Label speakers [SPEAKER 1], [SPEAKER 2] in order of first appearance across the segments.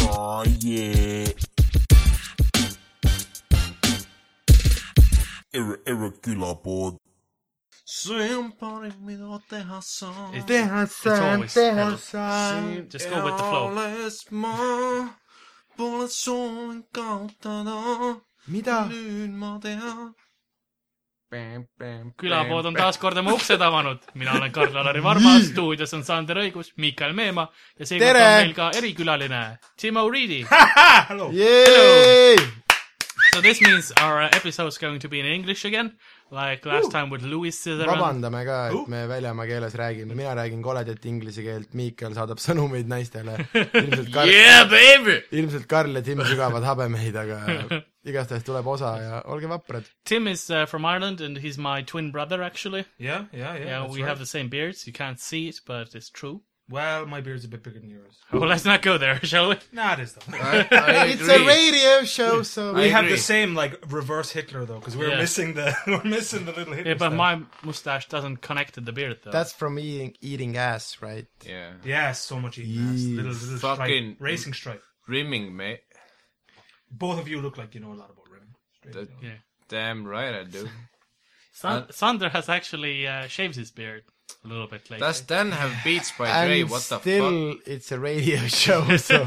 [SPEAKER 1] Oh yeah. Ir- irregular board. Somebody minua tehdä saa.
[SPEAKER 2] It's-
[SPEAKER 3] Tehdään sään,
[SPEAKER 2] always
[SPEAKER 3] tehdään
[SPEAKER 2] ever-
[SPEAKER 3] sään.
[SPEAKER 2] Just go with the flow.
[SPEAKER 1] Alles maa. Puolet Suomen kautta naa.
[SPEAKER 3] Mitä?
[SPEAKER 1] Nyt mä tehdään.
[SPEAKER 2] külapood on taas kord oma uksed avanud . mina olen Karl-Alari Varma , stuudios on Sander Õigus , Mikael Meemaa ja seekord
[SPEAKER 3] Tere!
[SPEAKER 2] on meil ka erikülaline Timo Reedy .
[SPEAKER 3] Yay!
[SPEAKER 2] So this means our uh, episode is going to be in English again like last time with Louis Cizeran .
[SPEAKER 3] vabandame ka , et me väljamaa keeles räägime , mina räägin koledat inglise keelt , Miikal saadab sõnumeid naistele . ilmselt Karl yeah, , ilmselt Karl ja Tim sügavad habemeid , aga igastahes tuleb osa ja olge vaprad .
[SPEAKER 2] Tim is uh, from Ireland and he's my twin brother actually .
[SPEAKER 4] Yeah, yeah, yeah.
[SPEAKER 2] Yeah,
[SPEAKER 4] that's
[SPEAKER 2] we
[SPEAKER 4] right.
[SPEAKER 2] have the same beards. You can't see it, but it's true.
[SPEAKER 4] Well, my beard's a bit bigger than yours.
[SPEAKER 2] Well, let's not go there, shall we?
[SPEAKER 4] Nah, it is though.
[SPEAKER 3] It's a radio show , so
[SPEAKER 4] we have
[SPEAKER 5] agree.
[SPEAKER 4] the same like reverse Hitler though, because we're
[SPEAKER 2] Yeah.
[SPEAKER 4] missing the we're missing the little Hitler.
[SPEAKER 2] Yeah, but
[SPEAKER 4] stuff.
[SPEAKER 2] my mustache doesn't connect to the beard though.
[SPEAKER 3] that's from eating , eating ass , right ?
[SPEAKER 5] Yeah.
[SPEAKER 4] yeah, so much eating ass.
[SPEAKER 3] Yee,
[SPEAKER 4] Little little
[SPEAKER 5] fucking-
[SPEAKER 4] stripe, racing stripe.
[SPEAKER 5] Rimming, mate.
[SPEAKER 4] Both of you look like you know a lot about rimming. Straight
[SPEAKER 5] That-
[SPEAKER 4] up.
[SPEAKER 2] Yeah.
[SPEAKER 5] Damn right I do.
[SPEAKER 2] San- Sander has actually uh, shaved his beard a little bit lately.
[SPEAKER 5] Does Dan have Beats by Dre?
[SPEAKER 3] And
[SPEAKER 5] What the fuck?
[SPEAKER 3] still it's a radio show , so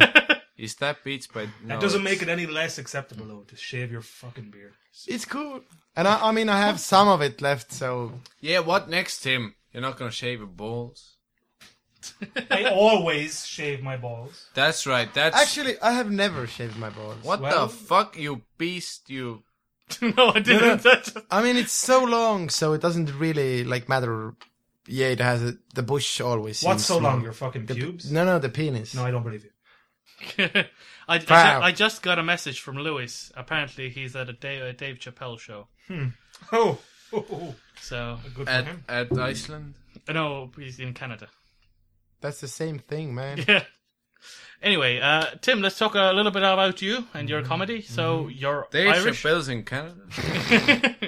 [SPEAKER 5] Is that Beats by no,
[SPEAKER 4] That doesn't make
[SPEAKER 5] it's-
[SPEAKER 4] it any less acceptable though to shave your fucking beard.
[SPEAKER 3] it's cool . And I, I mean I have some of it left , so
[SPEAKER 5] Yeah, what next, Tim? You're not gonna shave your balls?
[SPEAKER 4] I always shave my balls.
[SPEAKER 5] That's right, that's...
[SPEAKER 3] actually I have never shaved my balls .
[SPEAKER 5] What
[SPEAKER 4] Well-
[SPEAKER 5] the fuck, you beast, you...
[SPEAKER 2] no, I didn't.
[SPEAKER 3] I mean, it's so long, so it doesn't really like matter. Yeah, it has a, the bush always.
[SPEAKER 4] What's
[SPEAKER 3] seems
[SPEAKER 4] so long?
[SPEAKER 3] small.
[SPEAKER 4] Your fucking
[SPEAKER 3] The p-
[SPEAKER 4] pubes?
[SPEAKER 3] No, no, the penis.
[SPEAKER 4] No, I don't believe you.
[SPEAKER 2] I, I, ju-
[SPEAKER 3] Wow.
[SPEAKER 2] I just got a message from Lewis. Apparently, he's at a Dave, a Dave Chappelle show.
[SPEAKER 4] Oh, oh, oh,
[SPEAKER 2] So
[SPEAKER 4] oh. good for
[SPEAKER 5] At,
[SPEAKER 4] him.
[SPEAKER 5] at Iceland?
[SPEAKER 2] no, he's in Canada.
[SPEAKER 3] That's the same thing, man.
[SPEAKER 2] Yeah. Anyway, uh, Tim, let's talk a little bit about you and your comedy. So you're
[SPEAKER 5] Dave
[SPEAKER 2] Irish.
[SPEAKER 5] Chappelle's in Canada.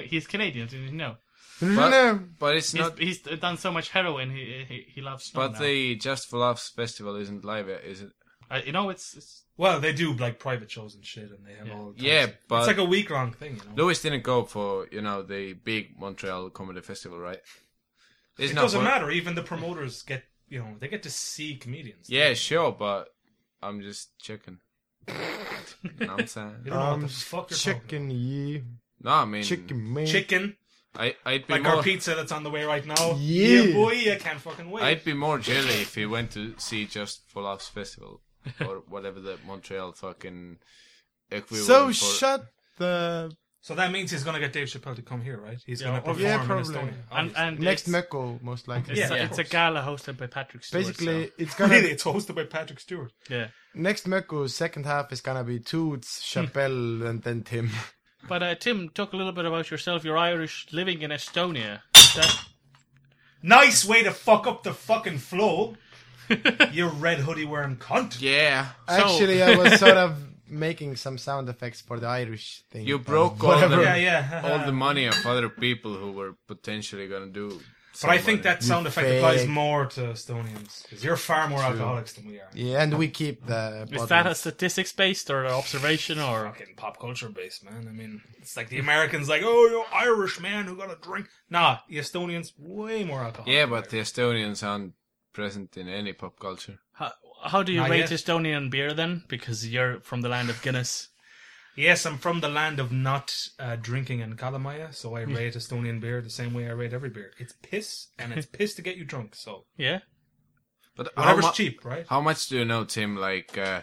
[SPEAKER 2] he's Canadian, didn't you know?
[SPEAKER 3] no,
[SPEAKER 5] But it's
[SPEAKER 2] He's,
[SPEAKER 5] not...
[SPEAKER 2] he's done so much heroin. He he, he loves. snow
[SPEAKER 5] But
[SPEAKER 2] now.
[SPEAKER 5] the Just for Laughs festival isn't live yet, is it?
[SPEAKER 2] I, Uh, you know, it's, it's
[SPEAKER 4] Well, they do like private shows and shit, and they have
[SPEAKER 2] Yeah.
[SPEAKER 4] all. types
[SPEAKER 5] Yeah,
[SPEAKER 4] of-
[SPEAKER 5] but-
[SPEAKER 4] it's like a week long thing, you know.
[SPEAKER 5] Lewis didn't go for, you know, the big Montreal Comedy Festival, right? It's
[SPEAKER 4] it
[SPEAKER 5] not
[SPEAKER 4] doesn't
[SPEAKER 5] what-
[SPEAKER 4] matter. Even the promoters get, you know, they get to see comedians.
[SPEAKER 5] Yeah, sure, but I'm just checking. You know what I'm
[SPEAKER 4] you
[SPEAKER 5] saying?
[SPEAKER 4] don't know what
[SPEAKER 3] um,
[SPEAKER 4] the fuck you're talking.
[SPEAKER 3] chicken, you,
[SPEAKER 5] No, I mean,
[SPEAKER 3] chicken, man.
[SPEAKER 4] about. Chicken,
[SPEAKER 5] I, I'd be
[SPEAKER 4] like
[SPEAKER 5] more,
[SPEAKER 4] our pizza that's on the way right now.
[SPEAKER 3] Yeah.
[SPEAKER 4] boy, I can't fucking wait.
[SPEAKER 5] I'd be more jelly if he went to see Just for Laughs festival or whatever the Montreal fucking equivalent.
[SPEAKER 3] So
[SPEAKER 5] for-
[SPEAKER 3] shut the
[SPEAKER 4] So that means he's gonna get Dave Chappelle to come here, right? He's
[SPEAKER 2] Yeah,
[SPEAKER 4] gonna
[SPEAKER 2] or-
[SPEAKER 4] perform
[SPEAKER 3] yeah,
[SPEAKER 4] in
[SPEAKER 3] probably.
[SPEAKER 4] Estonia.
[SPEAKER 2] and,
[SPEAKER 4] obviously.
[SPEAKER 2] and
[SPEAKER 3] next
[SPEAKER 2] it's,
[SPEAKER 3] Mecco, most likely.
[SPEAKER 2] it's,
[SPEAKER 4] Yeah,
[SPEAKER 2] a,
[SPEAKER 4] of
[SPEAKER 2] it's a
[SPEAKER 4] course.
[SPEAKER 2] gala hosted by Patrick Stewart.
[SPEAKER 3] Basically,
[SPEAKER 2] so-
[SPEAKER 3] it's gonna
[SPEAKER 4] really, it's hosted by Patrick Stewart.
[SPEAKER 2] yeah.
[SPEAKER 3] next Mecco's second half is gonna be Toots,
[SPEAKER 4] Hmm.
[SPEAKER 3] Chappelle, and then Tim.
[SPEAKER 2] But uh, Tim, talk a little bit about yourself. You're Irish, living in Estonia. Is that-
[SPEAKER 4] Nice way to fuck up the fucking flow. you red hoodie wearing cunt.
[SPEAKER 5] Yeah.
[SPEAKER 3] Actually, I was sort of making some sound effects for the Irish thing.
[SPEAKER 5] You
[SPEAKER 3] but
[SPEAKER 5] broke all
[SPEAKER 3] whatever.
[SPEAKER 5] the,
[SPEAKER 4] Yeah, yeah.
[SPEAKER 5] all the money of other people who were potentially going to do.
[SPEAKER 4] But I think that sound effect applies
[SPEAKER 3] fake.
[SPEAKER 4] more to Estonians because you're far more alcoholics than we are.
[SPEAKER 3] Yeah, and we keep the.
[SPEAKER 2] is that a
[SPEAKER 3] bottles.
[SPEAKER 2] statistics based or an observation or?
[SPEAKER 4] fucking pop culture based, man. I mean, it's like the Americans, like, oh, you're Irish man who got a drink. Nah, the Estonians way more alcohol.
[SPEAKER 5] Yeah, but the Estonians aren't present in any pop culture.
[SPEAKER 2] How, how do you
[SPEAKER 4] Not
[SPEAKER 2] rate
[SPEAKER 4] yet.
[SPEAKER 2] Estonian beer then? Because you're from the land of Guinness.
[SPEAKER 4] yes, I'm from the land of not uh, drinking in Kalamaya, so
[SPEAKER 5] Hmm.
[SPEAKER 4] I rate Estonian beer the same way I rate every beer. It's piss, and it's piss to get you drunk. So
[SPEAKER 2] Yeah.
[SPEAKER 5] But how
[SPEAKER 4] whatever's
[SPEAKER 5] mu-
[SPEAKER 4] cheap, right?
[SPEAKER 5] How much do you know, Tim? Like, uh,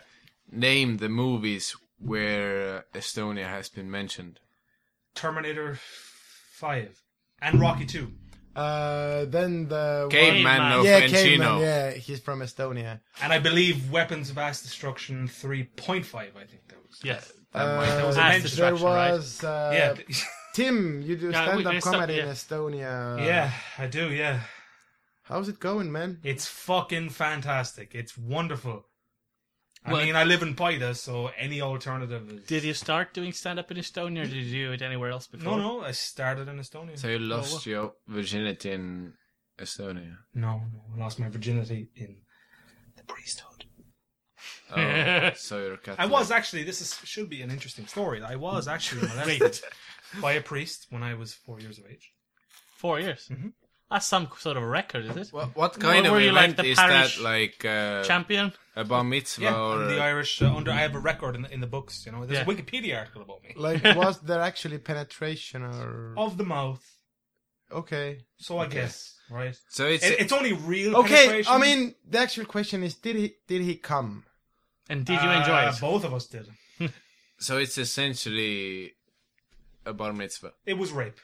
[SPEAKER 5] name the movies where uh, Estonia has been mentioned.
[SPEAKER 4] Terminator Five and Rocky Two.
[SPEAKER 3] Uh, then the
[SPEAKER 5] Caveman,
[SPEAKER 2] Man.
[SPEAKER 5] no
[SPEAKER 3] yeah,
[SPEAKER 5] Fencino.
[SPEAKER 3] Caveman, yeah, he's from Estonia.
[SPEAKER 4] And I believe Weapons of Mass Destruction 3.5, I think that was.
[SPEAKER 2] Yeah.
[SPEAKER 3] Uh,
[SPEAKER 4] was a
[SPEAKER 3] there
[SPEAKER 4] men's
[SPEAKER 2] distraction, right?
[SPEAKER 3] was uh,
[SPEAKER 4] Yeah.
[SPEAKER 3] Tim. You
[SPEAKER 2] Yeah,
[SPEAKER 3] do
[SPEAKER 2] we-
[SPEAKER 3] stand-up
[SPEAKER 2] there's some-
[SPEAKER 3] comedy in
[SPEAKER 2] yeah.
[SPEAKER 5] Uh,
[SPEAKER 3] Estonia.
[SPEAKER 4] yeah, I do, yeah.
[SPEAKER 3] how's it going, man?
[SPEAKER 4] It's fucking fantastic. It's wonderful. I
[SPEAKER 2] Well,
[SPEAKER 4] mean, I live in Paida, so any alternative is.
[SPEAKER 2] Did you start doing stand up in Estonia or did you do it anywhere else
[SPEAKER 4] No,
[SPEAKER 2] before?
[SPEAKER 4] no, I started in Estonia.
[SPEAKER 5] So you lost your virginity in Estonia.
[SPEAKER 4] No, no, I lost my virginity in the priesthood.
[SPEAKER 5] Oh, so you're a Catholic.
[SPEAKER 4] I was actually. This is, should be an interesting story. I was actually molested by a priest when I was four years of age.
[SPEAKER 2] Four years.
[SPEAKER 4] Mm-hmm.
[SPEAKER 2] That's some sort of record, is it?
[SPEAKER 5] What, what kind
[SPEAKER 2] Were
[SPEAKER 5] of
[SPEAKER 2] you like
[SPEAKER 5] event
[SPEAKER 2] the
[SPEAKER 5] is
[SPEAKER 2] parish
[SPEAKER 5] that? Like uh,
[SPEAKER 2] Champion?
[SPEAKER 5] a bar mitzvah
[SPEAKER 4] Yeah,
[SPEAKER 5] or
[SPEAKER 4] I'm the Irish uh, under. I have a record in, in the books. You know, there's
[SPEAKER 2] Yeah.
[SPEAKER 4] a Wikipedia article about me
[SPEAKER 3] Like, was there actually penetration or?
[SPEAKER 4] of the mouth.
[SPEAKER 3] Okay.
[SPEAKER 4] So I guess right.
[SPEAKER 5] so it's
[SPEAKER 4] It, it's only real.
[SPEAKER 3] Okay.
[SPEAKER 4] penetration.
[SPEAKER 3] I mean, the actual question is, did he did he come?
[SPEAKER 2] And did you
[SPEAKER 4] Uh,
[SPEAKER 2] enjoy it?
[SPEAKER 4] Both of us did.
[SPEAKER 5] so it's essentially a bar mitzvah.
[SPEAKER 4] It was rape.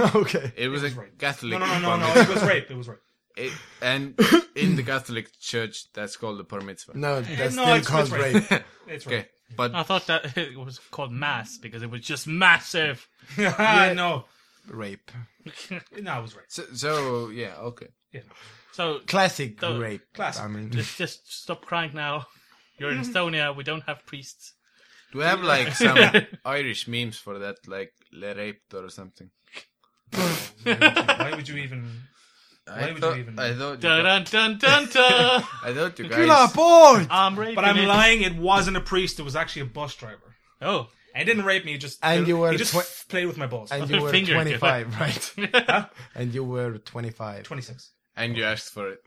[SPEAKER 3] okay.
[SPEAKER 5] It was,
[SPEAKER 4] was
[SPEAKER 5] a
[SPEAKER 4] right.
[SPEAKER 5] Catholic.
[SPEAKER 4] No, no, no, no,
[SPEAKER 5] bar
[SPEAKER 4] no.
[SPEAKER 5] mitzvah.
[SPEAKER 4] It was rape. It was rape.
[SPEAKER 5] It- and in the Catholic Church, that's called the bar mitzvah.
[SPEAKER 3] No, that's
[SPEAKER 4] no,
[SPEAKER 3] still
[SPEAKER 4] it's-
[SPEAKER 3] called
[SPEAKER 4] it's right.
[SPEAKER 3] rape.
[SPEAKER 4] It's rape.
[SPEAKER 5] Okay, but
[SPEAKER 2] I thought that it was called mass because it was just massive.
[SPEAKER 4] yeah. Ah, No,
[SPEAKER 3] rape.
[SPEAKER 4] no, it was rape.
[SPEAKER 5] so, so yeah, okay.
[SPEAKER 4] Yeah.
[SPEAKER 2] So
[SPEAKER 3] Classic
[SPEAKER 2] Don't-
[SPEAKER 3] rape.
[SPEAKER 4] classic.
[SPEAKER 3] I mean,
[SPEAKER 2] just, just stop crying now. You're in
[SPEAKER 4] Mm-hmm.
[SPEAKER 2] Estonia. We don't have priests.
[SPEAKER 5] Do we have like some Irish memes for that, like le raped or something?
[SPEAKER 4] Why would you even? Why
[SPEAKER 5] I
[SPEAKER 4] would you
[SPEAKER 5] thought,
[SPEAKER 4] even-
[SPEAKER 5] I thought you
[SPEAKER 2] Dun
[SPEAKER 5] guys,
[SPEAKER 2] dun dun dun. dun.
[SPEAKER 5] I thought you
[SPEAKER 3] Killer
[SPEAKER 5] guys.
[SPEAKER 3] board.
[SPEAKER 2] I'm raping.
[SPEAKER 4] But I'm
[SPEAKER 2] it.
[SPEAKER 4] lying. It wasn't a priest. It was actually a bus driver.
[SPEAKER 2] Oh,
[SPEAKER 4] And he didn't rape me. He just
[SPEAKER 3] And you were
[SPEAKER 4] he just
[SPEAKER 3] twen-
[SPEAKER 4] f- played with my balls.
[SPEAKER 3] And you were
[SPEAKER 2] Finger,
[SPEAKER 3] 25, right? and you were 25.
[SPEAKER 4] Twenty six.
[SPEAKER 5] And you asked for it.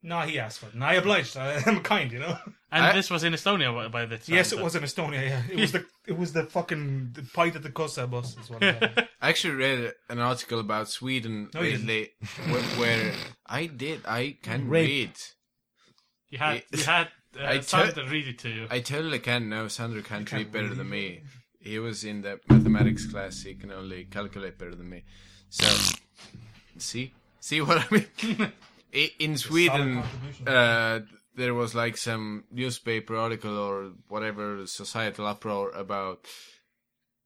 [SPEAKER 4] No, he asked for it. No, I obliged. I, I'm kind, you know.
[SPEAKER 2] and
[SPEAKER 5] I-
[SPEAKER 2] this was in Estonia by- by the time.
[SPEAKER 4] yes, it
[SPEAKER 2] so-
[SPEAKER 4] was in Estonia. Yeah, it was the it was the fucking the pint at the Kosa bus. Is what it was.
[SPEAKER 5] I actually read an article about Sweden
[SPEAKER 4] No, you didn't.
[SPEAKER 5] lately where, where I did. I can
[SPEAKER 3] Rape.
[SPEAKER 5] read.
[SPEAKER 2] You had you had uh,
[SPEAKER 5] I te-
[SPEAKER 2] Sandra read it to you.
[SPEAKER 5] I totally can know Sandra can read better than me. He was in the mathematics class. He can only calculate better than me. So, see, see what I mean. I- in Sweden,
[SPEAKER 4] contribution.
[SPEAKER 5] uh, there was like some newspaper article or whatever societal uproar about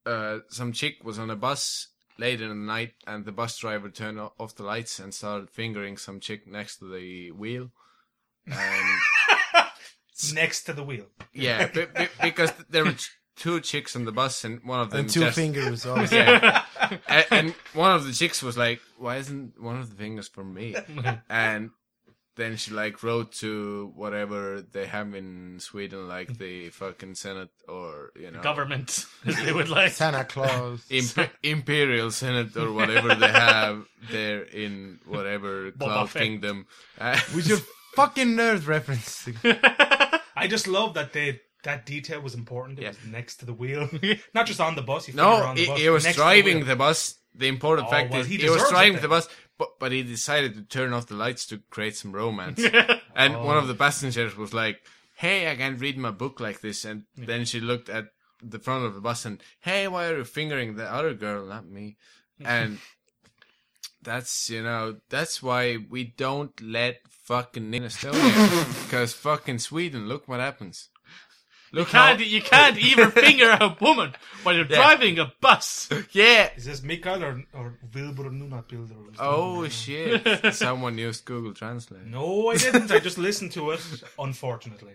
[SPEAKER 5] uh, some chick was on a bus late in the night, and the bus driver turned o- off the lights and started fingering some chick next to the wheel. And
[SPEAKER 4] Next to the wheel.
[SPEAKER 5] yeah, b- b- because there were t- two chicks on the bus, and one of them
[SPEAKER 3] And two
[SPEAKER 5] just,
[SPEAKER 3] fingers. oh, Also.
[SPEAKER 5] Yeah. and, and one of the chicks was like, "Why isn't one of the fingers for me?" and then she like wrote to whatever they have in Sweden, like the fucking Senate or you know
[SPEAKER 2] Government, as they would like.
[SPEAKER 3] Santa Claus.
[SPEAKER 5] Imp- Imperial Senate or whatever they have there in whatever Cloud
[SPEAKER 2] Fett.
[SPEAKER 5] Kingdom. Uh,
[SPEAKER 3] With your fucking nerd reference.
[SPEAKER 4] I just love that they that detail was important. It
[SPEAKER 5] Yeah.
[SPEAKER 4] was next to the wheel, not just on the bus. You figure
[SPEAKER 5] No,
[SPEAKER 4] on the
[SPEAKER 5] he,
[SPEAKER 4] bus,
[SPEAKER 5] he was
[SPEAKER 4] next to
[SPEAKER 5] driving
[SPEAKER 4] wheel.
[SPEAKER 5] the, bus. The important
[SPEAKER 4] Oh,
[SPEAKER 5] fact
[SPEAKER 4] well,
[SPEAKER 5] is
[SPEAKER 4] he
[SPEAKER 5] he, was
[SPEAKER 4] deserves it
[SPEAKER 5] driving
[SPEAKER 4] then.
[SPEAKER 5] the bus, but, but he decided to turn off the lights to create some romance. and
[SPEAKER 4] Oh.
[SPEAKER 5] one of the passengers was like, "Hey, I can't read my book like this." And then she looked at the front of the bus and, "Hey, why are you fingering the other girl, not me?" And that's you know that's why we don't let fucking in Estonia because fucking Sweden. Look what happens. Look how
[SPEAKER 2] Can't, you can't even finger a woman while you're driving a bus.
[SPEAKER 5] yeah
[SPEAKER 4] Is this Mikael or, or Wilbur Nunat Builder? or something?
[SPEAKER 5] Oh shit! Someone used Google Translate.
[SPEAKER 4] No, I didn't. I just listened to it, unfortunately.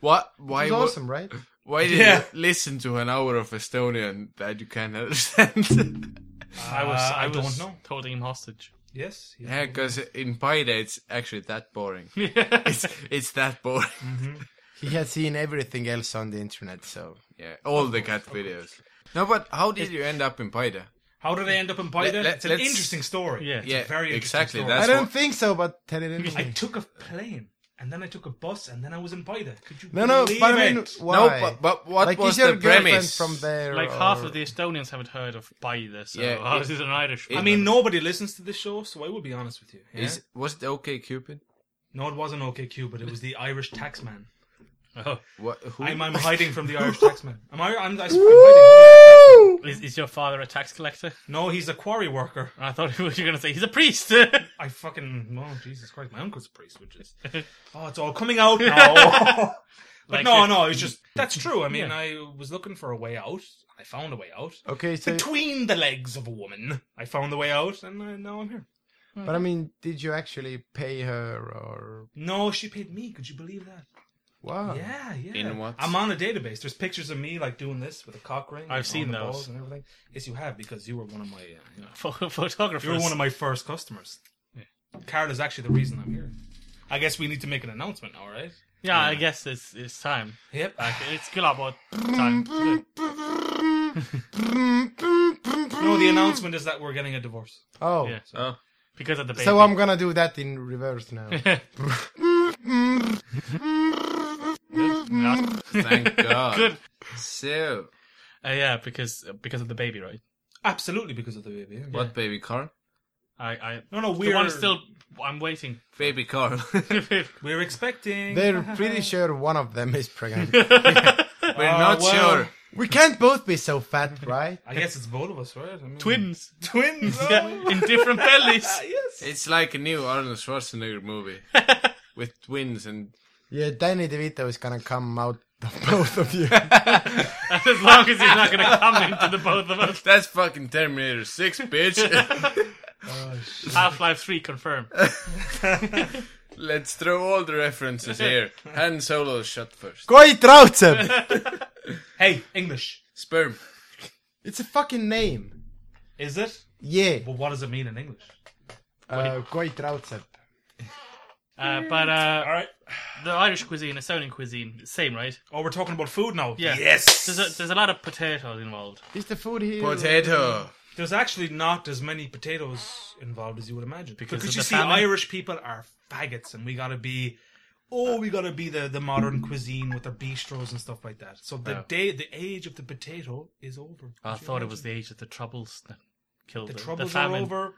[SPEAKER 5] What? Why?
[SPEAKER 3] It's
[SPEAKER 5] wa-
[SPEAKER 3] awesome, right?
[SPEAKER 5] Why did
[SPEAKER 4] Yeah.
[SPEAKER 5] you listen to an hour of Estonian that you can't understand?
[SPEAKER 2] I was,
[SPEAKER 4] Uh,
[SPEAKER 2] I,
[SPEAKER 4] I don't
[SPEAKER 2] was
[SPEAKER 4] know.
[SPEAKER 2] holding him hostage.
[SPEAKER 4] Yes. yes.
[SPEAKER 5] yeah, because in Paida it's actually that boring. It's it's that boring.
[SPEAKER 3] Mm. He had seen everything else on the internet, so.
[SPEAKER 5] Yeah, all the cat videos. No, but how did you end up in Paida?
[SPEAKER 4] How did I end up in Paida?
[SPEAKER 5] Let- let-
[SPEAKER 4] it's an
[SPEAKER 5] let's-
[SPEAKER 4] interesting story.
[SPEAKER 2] Yeah. It's a
[SPEAKER 5] yeah,
[SPEAKER 4] very interesting
[SPEAKER 5] exactly.
[SPEAKER 4] story.
[SPEAKER 5] That's
[SPEAKER 3] I don't
[SPEAKER 5] what-
[SPEAKER 3] think so, but tell it anyway.
[SPEAKER 4] I took a plane and then I took a bus and then I was in Paida. Could you
[SPEAKER 3] No, no,
[SPEAKER 4] believe
[SPEAKER 3] but I mean,
[SPEAKER 4] it?
[SPEAKER 3] why?
[SPEAKER 5] No, but, but what
[SPEAKER 3] like,
[SPEAKER 5] was
[SPEAKER 3] is your
[SPEAKER 5] the
[SPEAKER 3] girlfriend
[SPEAKER 5] premise?
[SPEAKER 3] from there?
[SPEAKER 2] Like
[SPEAKER 3] or-
[SPEAKER 2] half of the Estonians haven't heard of Baida, so
[SPEAKER 5] Yeah,
[SPEAKER 2] how
[SPEAKER 5] it-
[SPEAKER 2] is this an Irish?
[SPEAKER 5] it-
[SPEAKER 4] I mean, nobody listens to this show, so I will be honest with you. yeah?
[SPEAKER 5] Is was it OK Cupid?
[SPEAKER 4] no, it wasn't OKQ, but it was the Irish taxman.
[SPEAKER 2] oh,
[SPEAKER 5] What? Who?
[SPEAKER 4] I'm, I'm hiding from the Irish taxman. I'm, I- I'm, I'm hiding.
[SPEAKER 2] is, is your father a tax collector?
[SPEAKER 4] No, he's a quarry worker.
[SPEAKER 2] I thought you were going to say he's a priest.
[SPEAKER 4] I fucking no, Jesus Christ! My uncle's a priest, which is oh, it's all coming out now. but
[SPEAKER 2] Like
[SPEAKER 4] no,
[SPEAKER 2] it-
[SPEAKER 4] no, it's just that's true. I mean,
[SPEAKER 2] Yeah.
[SPEAKER 4] I was looking for a way out. I found a way out
[SPEAKER 3] Okay, so.
[SPEAKER 4] between the legs of a woman. I found the way out, and uh, now I'm here.
[SPEAKER 3] But I mean, did you actually pay her or.
[SPEAKER 4] No, she paid me. Could you believe that?
[SPEAKER 3] Wow.
[SPEAKER 4] Yeah, yeah.
[SPEAKER 5] In what?
[SPEAKER 4] I'm on a database. There's pictures of me like doing this with a cock ring.
[SPEAKER 2] I've
[SPEAKER 4] on
[SPEAKER 2] seen
[SPEAKER 4] the
[SPEAKER 2] those.
[SPEAKER 4] balls and everything. Yes, you have because you were one of my. Uh, you know,
[SPEAKER 2] Photographers.
[SPEAKER 4] you were one of my first customers. Carol is actually the reason I'm here. I guess we need to make an announcement now, right?
[SPEAKER 2] Yeah, I guess it's it's time.
[SPEAKER 4] Yep.
[SPEAKER 2] It's Killabot time.
[SPEAKER 4] No, the announcement is that we're getting a divorce.
[SPEAKER 3] Oh.
[SPEAKER 2] Yeah.
[SPEAKER 5] Oh.
[SPEAKER 2] Because of the baby.
[SPEAKER 3] So I'm gonna do that in reverse now.
[SPEAKER 2] Yeah.
[SPEAKER 5] Thank God.
[SPEAKER 2] Good.
[SPEAKER 5] So,
[SPEAKER 2] Uh, yeah, because because of the baby, right?
[SPEAKER 4] Absolutely because of the baby. yeah.
[SPEAKER 5] what baby Carl?
[SPEAKER 2] I I
[SPEAKER 4] No, no,
[SPEAKER 2] we
[SPEAKER 4] we're
[SPEAKER 2] I'm still I'm waiting.
[SPEAKER 5] Baby Carl.
[SPEAKER 4] We're expecting.
[SPEAKER 3] They're pretty sure one of them is pregnant.
[SPEAKER 5] We're not
[SPEAKER 4] Uh, Ah, well.
[SPEAKER 5] sure.
[SPEAKER 3] we can't both be so fat, right?
[SPEAKER 4] I guess it's both of us, right? I mean,
[SPEAKER 2] Twins
[SPEAKER 4] Twins.
[SPEAKER 2] Yeah,
[SPEAKER 4] Oh.
[SPEAKER 2] in different bellies.
[SPEAKER 4] yes.
[SPEAKER 5] It's like a new Arnold Schwarzenegger movie with twins and
[SPEAKER 3] Yeah, Danny DeVito is gonna come out of both of you.
[SPEAKER 2] as long as he's not gonna come into the both of us.
[SPEAKER 5] that's fucking Terminator 6, bitch.
[SPEAKER 2] Half Life Three confirmed.
[SPEAKER 5] Let's throw all the references here. Han Solo is shot first.
[SPEAKER 3] Koit Raudsepp!
[SPEAKER 4] Hey, English.
[SPEAKER 5] Sperm.
[SPEAKER 3] It's a fucking name.
[SPEAKER 4] Is it?
[SPEAKER 3] Yeah.
[SPEAKER 4] Well, what does it mean in English?
[SPEAKER 3] Uh, Koit Raudsepp.
[SPEAKER 2] Uh, but uh,
[SPEAKER 4] All right.
[SPEAKER 2] the Irish cuisine, Estonian cuisine, same, right?
[SPEAKER 4] Oh, we're talking about food now.
[SPEAKER 2] Yeah.
[SPEAKER 4] Yes.
[SPEAKER 2] There's a, there's a lot of potatoes involved.
[SPEAKER 3] Is the food here?
[SPEAKER 5] Potato.
[SPEAKER 4] There's actually not as many potatoes involved as you would imagine.
[SPEAKER 2] Because
[SPEAKER 4] Because,
[SPEAKER 2] of
[SPEAKER 4] you
[SPEAKER 2] the
[SPEAKER 4] see,
[SPEAKER 2] famine?
[SPEAKER 4] Irish people are faggots, and we gotta be, oh, we gotta be the, the modern cuisine with our bistros and stuff like that. So the
[SPEAKER 2] Yeah.
[SPEAKER 4] day, the age of the potato is over.
[SPEAKER 2] I
[SPEAKER 4] Could you
[SPEAKER 2] thought it
[SPEAKER 4] imagine?
[SPEAKER 2] was the age of the troubles that killed
[SPEAKER 4] the
[SPEAKER 2] the,
[SPEAKER 4] troubles
[SPEAKER 2] the
[SPEAKER 4] are
[SPEAKER 2] famine.
[SPEAKER 4] over.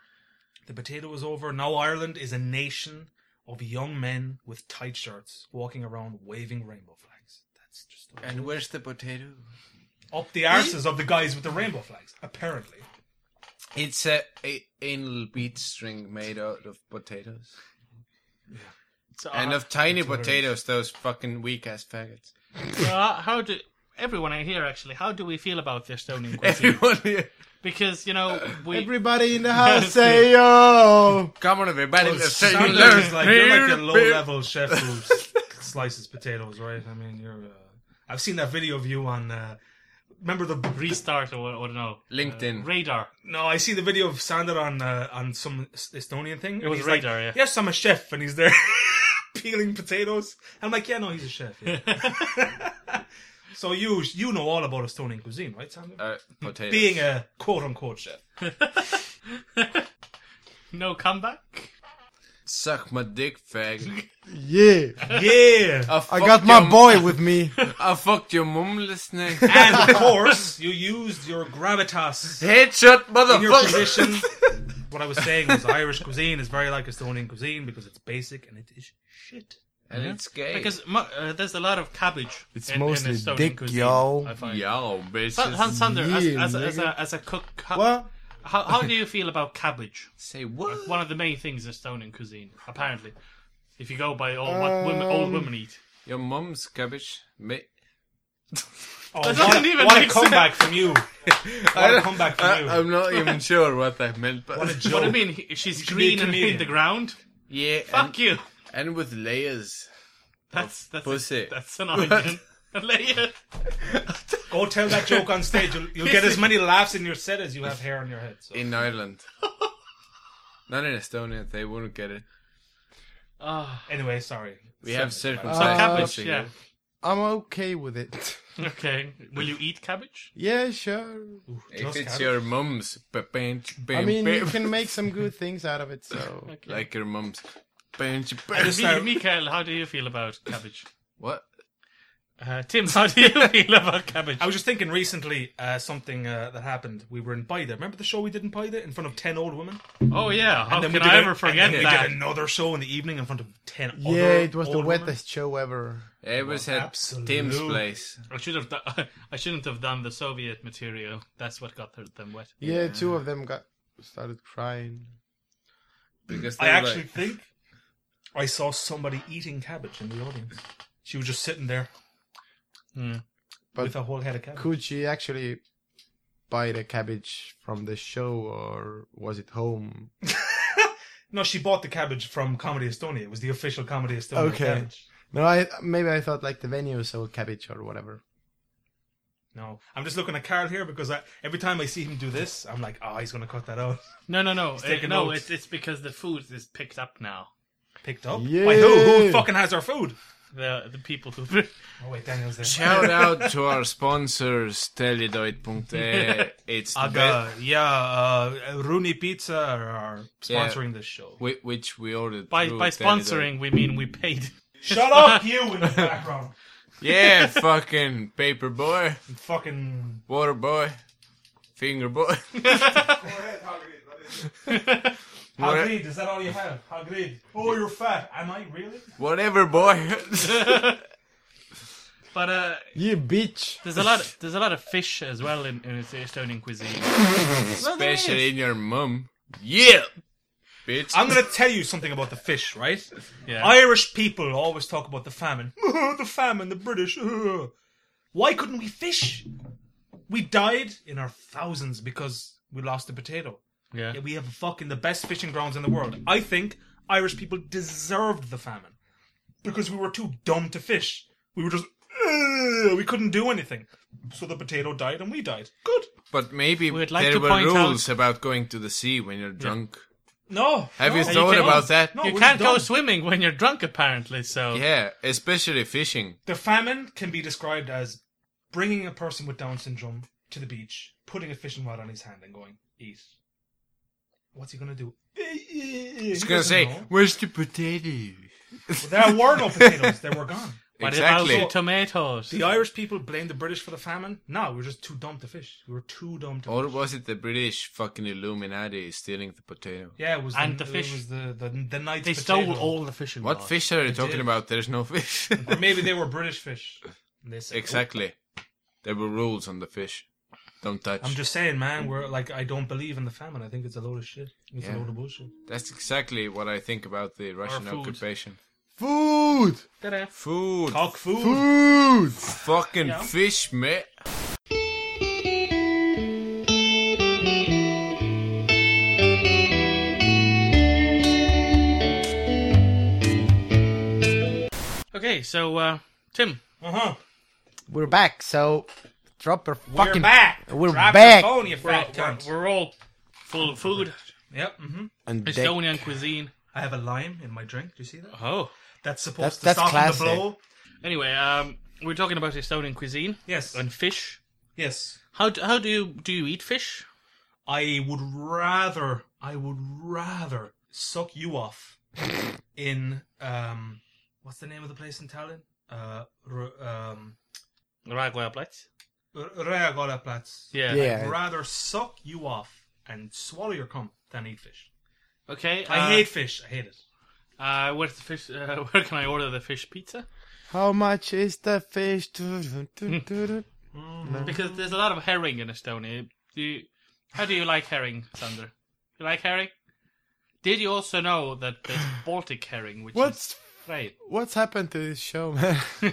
[SPEAKER 4] The potato is over. Now Ireland is a nation of young men with tight shirts walking around waving rainbow flags. That's just the
[SPEAKER 5] And where's the potato?
[SPEAKER 4] up the arses of the guys with the rainbow flags. Apparently,
[SPEAKER 5] It's a, a anal bead string made out of potatoes.
[SPEAKER 2] So,
[SPEAKER 4] Ah,
[SPEAKER 5] And
[SPEAKER 2] uh,
[SPEAKER 5] of tiny potatoes, those fucking weak ass faggots.
[SPEAKER 2] uh, how do everyone here actually? How do we feel about the Estonian cuisine?
[SPEAKER 5] Everyone here.
[SPEAKER 2] because you know we
[SPEAKER 3] Everybody in the house say yo!
[SPEAKER 5] Come on, everybody. Let's say you
[SPEAKER 4] Sanders
[SPEAKER 5] learn.
[SPEAKER 4] is like you're like a low level chef who s- slices potatoes, right? I mean, you're. Uh, I've seen that video of you on. Uh, remember the
[SPEAKER 2] restart or, or no
[SPEAKER 5] LinkedIn.
[SPEAKER 2] radar.
[SPEAKER 4] No, I see the video of Sander on uh, on some Estonian thing. and
[SPEAKER 2] was
[SPEAKER 4] he's
[SPEAKER 2] radar, yeah.
[SPEAKER 4] like, Yes, I'm a chef, and he's there peeling potatoes. I'm like, yeah, no, he's a chef. yeah." so you you know all about Estonian cuisine, right, Sander?
[SPEAKER 5] Uh, potatoes.
[SPEAKER 4] Being a quote unquote chef.
[SPEAKER 2] No comeback.
[SPEAKER 5] Suck my dick, fag.
[SPEAKER 3] Yeah!
[SPEAKER 4] Yeah.
[SPEAKER 2] Oh.
[SPEAKER 5] fucked
[SPEAKER 3] I got my
[SPEAKER 5] your-
[SPEAKER 3] boy with me.
[SPEAKER 5] I fucked your mum listening.
[SPEAKER 4] and of course, you used your gravitas
[SPEAKER 5] Headshot,
[SPEAKER 4] in your
[SPEAKER 5] motherfucker.
[SPEAKER 4] position. what I was saying was Irish cuisine is very like Estonian cuisine because it's basic and it is shit.
[SPEAKER 5] And it's gay.
[SPEAKER 2] Because mu- uh, there's a lot of cabbage.
[SPEAKER 3] It's
[SPEAKER 2] in- in
[SPEAKER 3] mostly
[SPEAKER 2] Estonian
[SPEAKER 3] dick,
[SPEAKER 2] cuisine,
[SPEAKER 3] yo.
[SPEAKER 2] I find.
[SPEAKER 5] Yo, bitch.
[SPEAKER 2] Sa- Hans Sander, as,
[SPEAKER 3] Yeah,
[SPEAKER 2] as, a, as,
[SPEAKER 3] nigga.
[SPEAKER 2] a, as a cook, how,
[SPEAKER 3] What?
[SPEAKER 2] how, how do you feel about cabbage?
[SPEAKER 5] Say what?
[SPEAKER 2] One of the main things in Estonian cuisine, apparently. If you go by all what women,
[SPEAKER 4] Um,
[SPEAKER 2] old women eat.
[SPEAKER 5] Your mum's cabbage. Ma-
[SPEAKER 4] Oh,
[SPEAKER 2] That
[SPEAKER 4] what,
[SPEAKER 2] doesn't
[SPEAKER 4] a-
[SPEAKER 2] even
[SPEAKER 4] what a
[SPEAKER 2] make sense.
[SPEAKER 4] comeback from you! What a comeback from you!
[SPEAKER 5] I, am Uh, not even sure what that meant, but
[SPEAKER 4] What a joke.
[SPEAKER 2] What I mean, he- she's
[SPEAKER 4] should be a
[SPEAKER 2] green and in
[SPEAKER 4] comedian.
[SPEAKER 2] the ground.
[SPEAKER 5] yeah,
[SPEAKER 2] Fuck
[SPEAKER 5] and,
[SPEAKER 2] you.
[SPEAKER 5] and with layers.
[SPEAKER 4] oh,
[SPEAKER 2] That's that's
[SPEAKER 5] pussy.
[SPEAKER 2] that's an origin. Layer.
[SPEAKER 4] Go tell that joke on stage. You'll, you'll get as many laughs in your set as you have hair on your head. So.
[SPEAKER 5] in Ireland. Not in Estonia, they wouldn't get it.
[SPEAKER 2] Ah,
[SPEAKER 4] Anyway, sorry.
[SPEAKER 5] We have circumcised.
[SPEAKER 2] so Uh, cabbage,
[SPEAKER 5] pussy,
[SPEAKER 2] yeah.
[SPEAKER 3] I'm okay with it.
[SPEAKER 2] Okay. Will you eat cabbage?
[SPEAKER 3] Yeah, sure.
[SPEAKER 4] Ooh,
[SPEAKER 5] If
[SPEAKER 4] just
[SPEAKER 5] it's
[SPEAKER 4] cabbage.
[SPEAKER 5] your mum's, bench,
[SPEAKER 3] I
[SPEAKER 5] bench,
[SPEAKER 3] mean, you
[SPEAKER 5] bench,
[SPEAKER 3] can make some good things out of it, so.
[SPEAKER 5] like your mum's bench,
[SPEAKER 2] Mi-
[SPEAKER 5] bench.
[SPEAKER 4] start-
[SPEAKER 2] Mikael, how do you feel about cabbage?
[SPEAKER 5] What?
[SPEAKER 2] Uh, Tim, how do you feel about cabbage?
[SPEAKER 4] I was just thinking recently uh, something uh, that happened. We were in Paida. Remember the show we did in Paida in front of ten old women?
[SPEAKER 2] Oh yeah, how
[SPEAKER 4] then
[SPEAKER 2] can
[SPEAKER 4] we did
[SPEAKER 2] I
[SPEAKER 4] a-
[SPEAKER 2] ever forget
[SPEAKER 4] and then We
[SPEAKER 2] that?
[SPEAKER 4] did another show in the evening in front of ten.
[SPEAKER 3] Yeah,
[SPEAKER 4] other
[SPEAKER 3] it was the
[SPEAKER 4] old women.
[SPEAKER 3] wettest show ever.
[SPEAKER 5] It was at
[SPEAKER 4] absolute-
[SPEAKER 5] Tim's place.
[SPEAKER 2] I should have. done I shouldn't have done the Soviet material. That's what got th- them wet.
[SPEAKER 3] Yeah, two of them got started crying.
[SPEAKER 5] Because
[SPEAKER 4] I
[SPEAKER 5] they were
[SPEAKER 4] actually
[SPEAKER 5] like,
[SPEAKER 4] think I saw somebody eating cabbage in the audience. She was just sitting there
[SPEAKER 3] But
[SPEAKER 4] with a whole head of cabbage.
[SPEAKER 3] Could she actually buy the cabbage from the show, or was it home?
[SPEAKER 4] No, she bought the cabbage from Comedy Estonia. It was the official Comedy Estonia
[SPEAKER 3] Okay.
[SPEAKER 4] cabbage.
[SPEAKER 3] No, I maybe I thought like the venue sold cabbage or whatever.
[SPEAKER 4] No, I'm just looking at Carl here because I, every time I see him do this, I'm like, oh, he's gonna cut that out.
[SPEAKER 2] No, no, no, Uh,
[SPEAKER 4] taking
[SPEAKER 2] no.
[SPEAKER 4] notes.
[SPEAKER 2] It's, it's because the food is picked up now.
[SPEAKER 4] Picked up
[SPEAKER 3] Yeah.
[SPEAKER 4] by who? Who fucking has our food?
[SPEAKER 2] The, the people who.
[SPEAKER 4] Oh wait, Daniel's there.
[SPEAKER 5] Shout out to our sponsors, Teledoid.e. It's the best,
[SPEAKER 4] Aga, yeah, uh, Rooney Pizza are sponsoring this show.
[SPEAKER 5] whi- which we ordered
[SPEAKER 2] By,
[SPEAKER 5] through
[SPEAKER 2] by
[SPEAKER 5] Teledoid.
[SPEAKER 2] sponsoring, we mean we paid.
[SPEAKER 4] Shut up, you in the background.
[SPEAKER 5] Yeah, fucking paper boy,
[SPEAKER 4] Fucking
[SPEAKER 5] water boy, finger boy. Whatever,
[SPEAKER 4] Hagrid, is that all you have? Hagrid. Oh, you're fat. Am I really?
[SPEAKER 5] whatever boy.
[SPEAKER 2] But uh,
[SPEAKER 3] You bitch.
[SPEAKER 2] there's a lot. There's a lot of fish as well in, in Estonian cuisine.
[SPEAKER 5] Especially in your mum. Yeah, bitch.
[SPEAKER 4] I'm gonna tell you something about the fish, right?
[SPEAKER 2] Yeah.
[SPEAKER 4] Irish people always talk about the famine. the famine, the British. Why couldn't we fish? We died in our thousands because we lost the potato.
[SPEAKER 2] yeah.
[SPEAKER 4] Yeah, we have fucking the best fishing grounds in the world. I think Irish people deserved the famine because we were too dumb to fish. We were just "Ugh," we couldn't do anything. So the potato died and we died. Good.
[SPEAKER 5] But maybe
[SPEAKER 2] We'd like
[SPEAKER 5] there
[SPEAKER 2] to
[SPEAKER 5] were
[SPEAKER 2] point out-
[SPEAKER 5] rules about going to the sea when you're drunk.
[SPEAKER 4] No.
[SPEAKER 5] Have
[SPEAKER 4] no,
[SPEAKER 5] you thought
[SPEAKER 2] can't-
[SPEAKER 5] about that?
[SPEAKER 4] No.
[SPEAKER 2] You
[SPEAKER 4] it was
[SPEAKER 2] can't go
[SPEAKER 4] dumb.
[SPEAKER 2] swimming when you're drunk, apparently. So
[SPEAKER 5] Yeah, especially fishing.
[SPEAKER 4] The famine can be described as bringing a person with Down syndrome to the beach, putting a fishing rod on his hand, and going eat. What's he gonna do? He's
[SPEAKER 5] He's gonna say, "Where's the potato?"
[SPEAKER 4] there were no potatoes. They were gone.
[SPEAKER 2] But
[SPEAKER 5] exactly.
[SPEAKER 2] it also tomatoes.
[SPEAKER 4] The Irish people blame the British for the famine. No, we were just too dumb to fish. We were too dumb to.
[SPEAKER 5] Or
[SPEAKER 4] fish.
[SPEAKER 5] was it the British fucking Illuminati stealing the potato?
[SPEAKER 4] Yeah, it was
[SPEAKER 2] And
[SPEAKER 4] the,
[SPEAKER 2] the fish.
[SPEAKER 4] It was the the, the night's
[SPEAKER 2] They
[SPEAKER 4] potato.
[SPEAKER 2] stole all the fish. in
[SPEAKER 5] What
[SPEAKER 2] Ireland.
[SPEAKER 5] fish are you talking
[SPEAKER 4] did.
[SPEAKER 5] about? There's no fish.
[SPEAKER 4] Or maybe they were British fish. And they said, "Oh,
[SPEAKER 5] exactly. There were rules on the fish. Don't touch.
[SPEAKER 4] I'm just saying, man. We're like, I don't believe in the famine. I think it's a load of shit. It's
[SPEAKER 5] Yeah.
[SPEAKER 4] a load of bullshit.
[SPEAKER 5] That's exactly what I think about the Russian
[SPEAKER 2] food.
[SPEAKER 5] occupation.
[SPEAKER 3] Food.
[SPEAKER 5] Food,
[SPEAKER 4] Cock food.
[SPEAKER 3] Food.
[SPEAKER 5] fucking fish, mate.
[SPEAKER 2] Okay, so uh, Tim,
[SPEAKER 4] Uh huh.
[SPEAKER 3] We're back, so drop your fucking.
[SPEAKER 4] We're back.
[SPEAKER 3] We're
[SPEAKER 4] Drop
[SPEAKER 3] back.
[SPEAKER 4] Your phone, you fat
[SPEAKER 2] we're,
[SPEAKER 4] cunt.
[SPEAKER 2] we're all full of food,
[SPEAKER 4] Yep. Mm-hmm.
[SPEAKER 3] And dick.
[SPEAKER 2] Estonian cuisine.
[SPEAKER 4] I have a lime in my drink. Do you see that?
[SPEAKER 2] Oh.
[SPEAKER 3] That's-
[SPEAKER 4] That's supposed
[SPEAKER 3] that's
[SPEAKER 4] to soften
[SPEAKER 3] classy.
[SPEAKER 4] the blow.
[SPEAKER 2] Anyway, um, we're talking about Estonian cuisine
[SPEAKER 4] Yes.
[SPEAKER 2] and fish.
[SPEAKER 4] yes.
[SPEAKER 2] How do, how do you do you eat fish?
[SPEAKER 4] I would rather, I would rather suck you off in um, what's the name of the place in Tallinn? Uh, r- um,
[SPEAKER 2] Ragoja plates.
[SPEAKER 4] R- Raekoja-plats.
[SPEAKER 2] Yeah.
[SPEAKER 4] I'd
[SPEAKER 3] Yeah.
[SPEAKER 4] rather suck you off and swallow your cum than eat fish.
[SPEAKER 2] Okay. uh,
[SPEAKER 4] I hate fish. I hate it.
[SPEAKER 2] Uh, where's the fish? Uh, where can I order the fish pizza?
[SPEAKER 3] How much is the fish? Du-du-du-du-du. Mm.
[SPEAKER 2] Because there's a lot of herring in Estonia. Do you, how do you like herring, Sander? You like herring? Did you also know that there's Baltic herring, which
[SPEAKER 3] What's
[SPEAKER 2] is right?
[SPEAKER 3] what's happened to this show, man?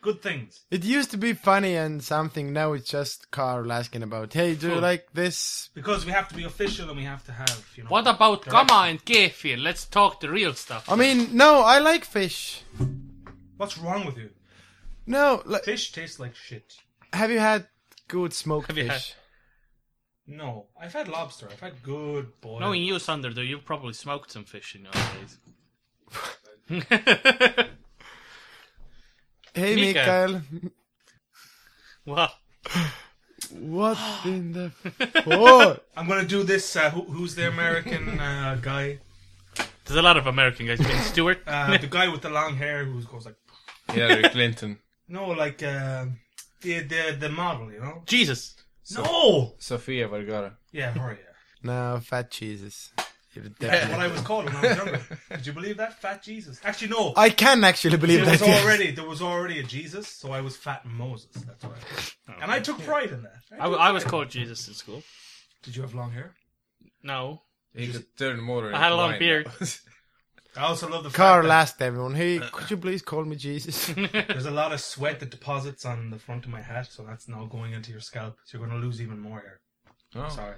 [SPEAKER 4] Good things.
[SPEAKER 3] It used to be funny and something. Now it's just Carl asking about, "Hey, do you
[SPEAKER 2] Food.
[SPEAKER 3] like this?"
[SPEAKER 4] Because we have to be official and we have to have, you know.
[SPEAKER 2] What about
[SPEAKER 4] Direction.
[SPEAKER 2] Gama and Kefir? Let's talk the real stuff.
[SPEAKER 3] I mean, no, I like fish.
[SPEAKER 4] What's wrong with you?
[SPEAKER 3] No, like,
[SPEAKER 4] Fish tastes like shit.
[SPEAKER 3] have you had good smoked
[SPEAKER 2] Have you
[SPEAKER 3] fish?
[SPEAKER 4] No, I've had lobster. I've had good boiled.
[SPEAKER 2] Knowing you, Sander, though, you've probably smoked some fish in your days.
[SPEAKER 3] Hey,
[SPEAKER 2] Mikael.
[SPEAKER 3] Mikael,
[SPEAKER 2] well,
[SPEAKER 3] what in the fuck?
[SPEAKER 4] I'm gonna do this. Uh, who, who's the American uh, guy?
[SPEAKER 2] there's a lot of American guys. Being Stewart.
[SPEAKER 4] Uh, the guy with the long hair who goes like,
[SPEAKER 5] Hillary Clinton,
[SPEAKER 4] no, like uh, the the the model, you know?
[SPEAKER 2] Jesus.
[SPEAKER 4] no.
[SPEAKER 5] Sofia Vergara.
[SPEAKER 4] Yeah, hurry.
[SPEAKER 3] No, fat cheeses. You're
[SPEAKER 4] That's what
[SPEAKER 3] definitely-
[SPEAKER 4] I was called when I was younger. Did you believe that? Fat Jesus. Actually, no.
[SPEAKER 3] I can actually believe
[SPEAKER 4] there
[SPEAKER 3] that.
[SPEAKER 4] was
[SPEAKER 3] yes.
[SPEAKER 4] already there was already a Jesus, so I was fat Moses. That's why.
[SPEAKER 3] Oh,
[SPEAKER 4] And I took pride in that.
[SPEAKER 2] I, I was called Jesus in school.
[SPEAKER 4] Did you have long hair?
[SPEAKER 2] No.
[SPEAKER 5] He could turn more.
[SPEAKER 2] I had a long
[SPEAKER 5] wine.
[SPEAKER 2] beard.
[SPEAKER 4] I also love the fact
[SPEAKER 3] Carl
[SPEAKER 4] that
[SPEAKER 3] asked everyone, "Hey,
[SPEAKER 2] Uh,
[SPEAKER 3] could you please call me Jesus?"
[SPEAKER 4] there's a lot of sweat that deposits on the front of my hat, so that's now going into your scalp. So you're going to lose even more hair.
[SPEAKER 5] Oh,
[SPEAKER 4] Sorry.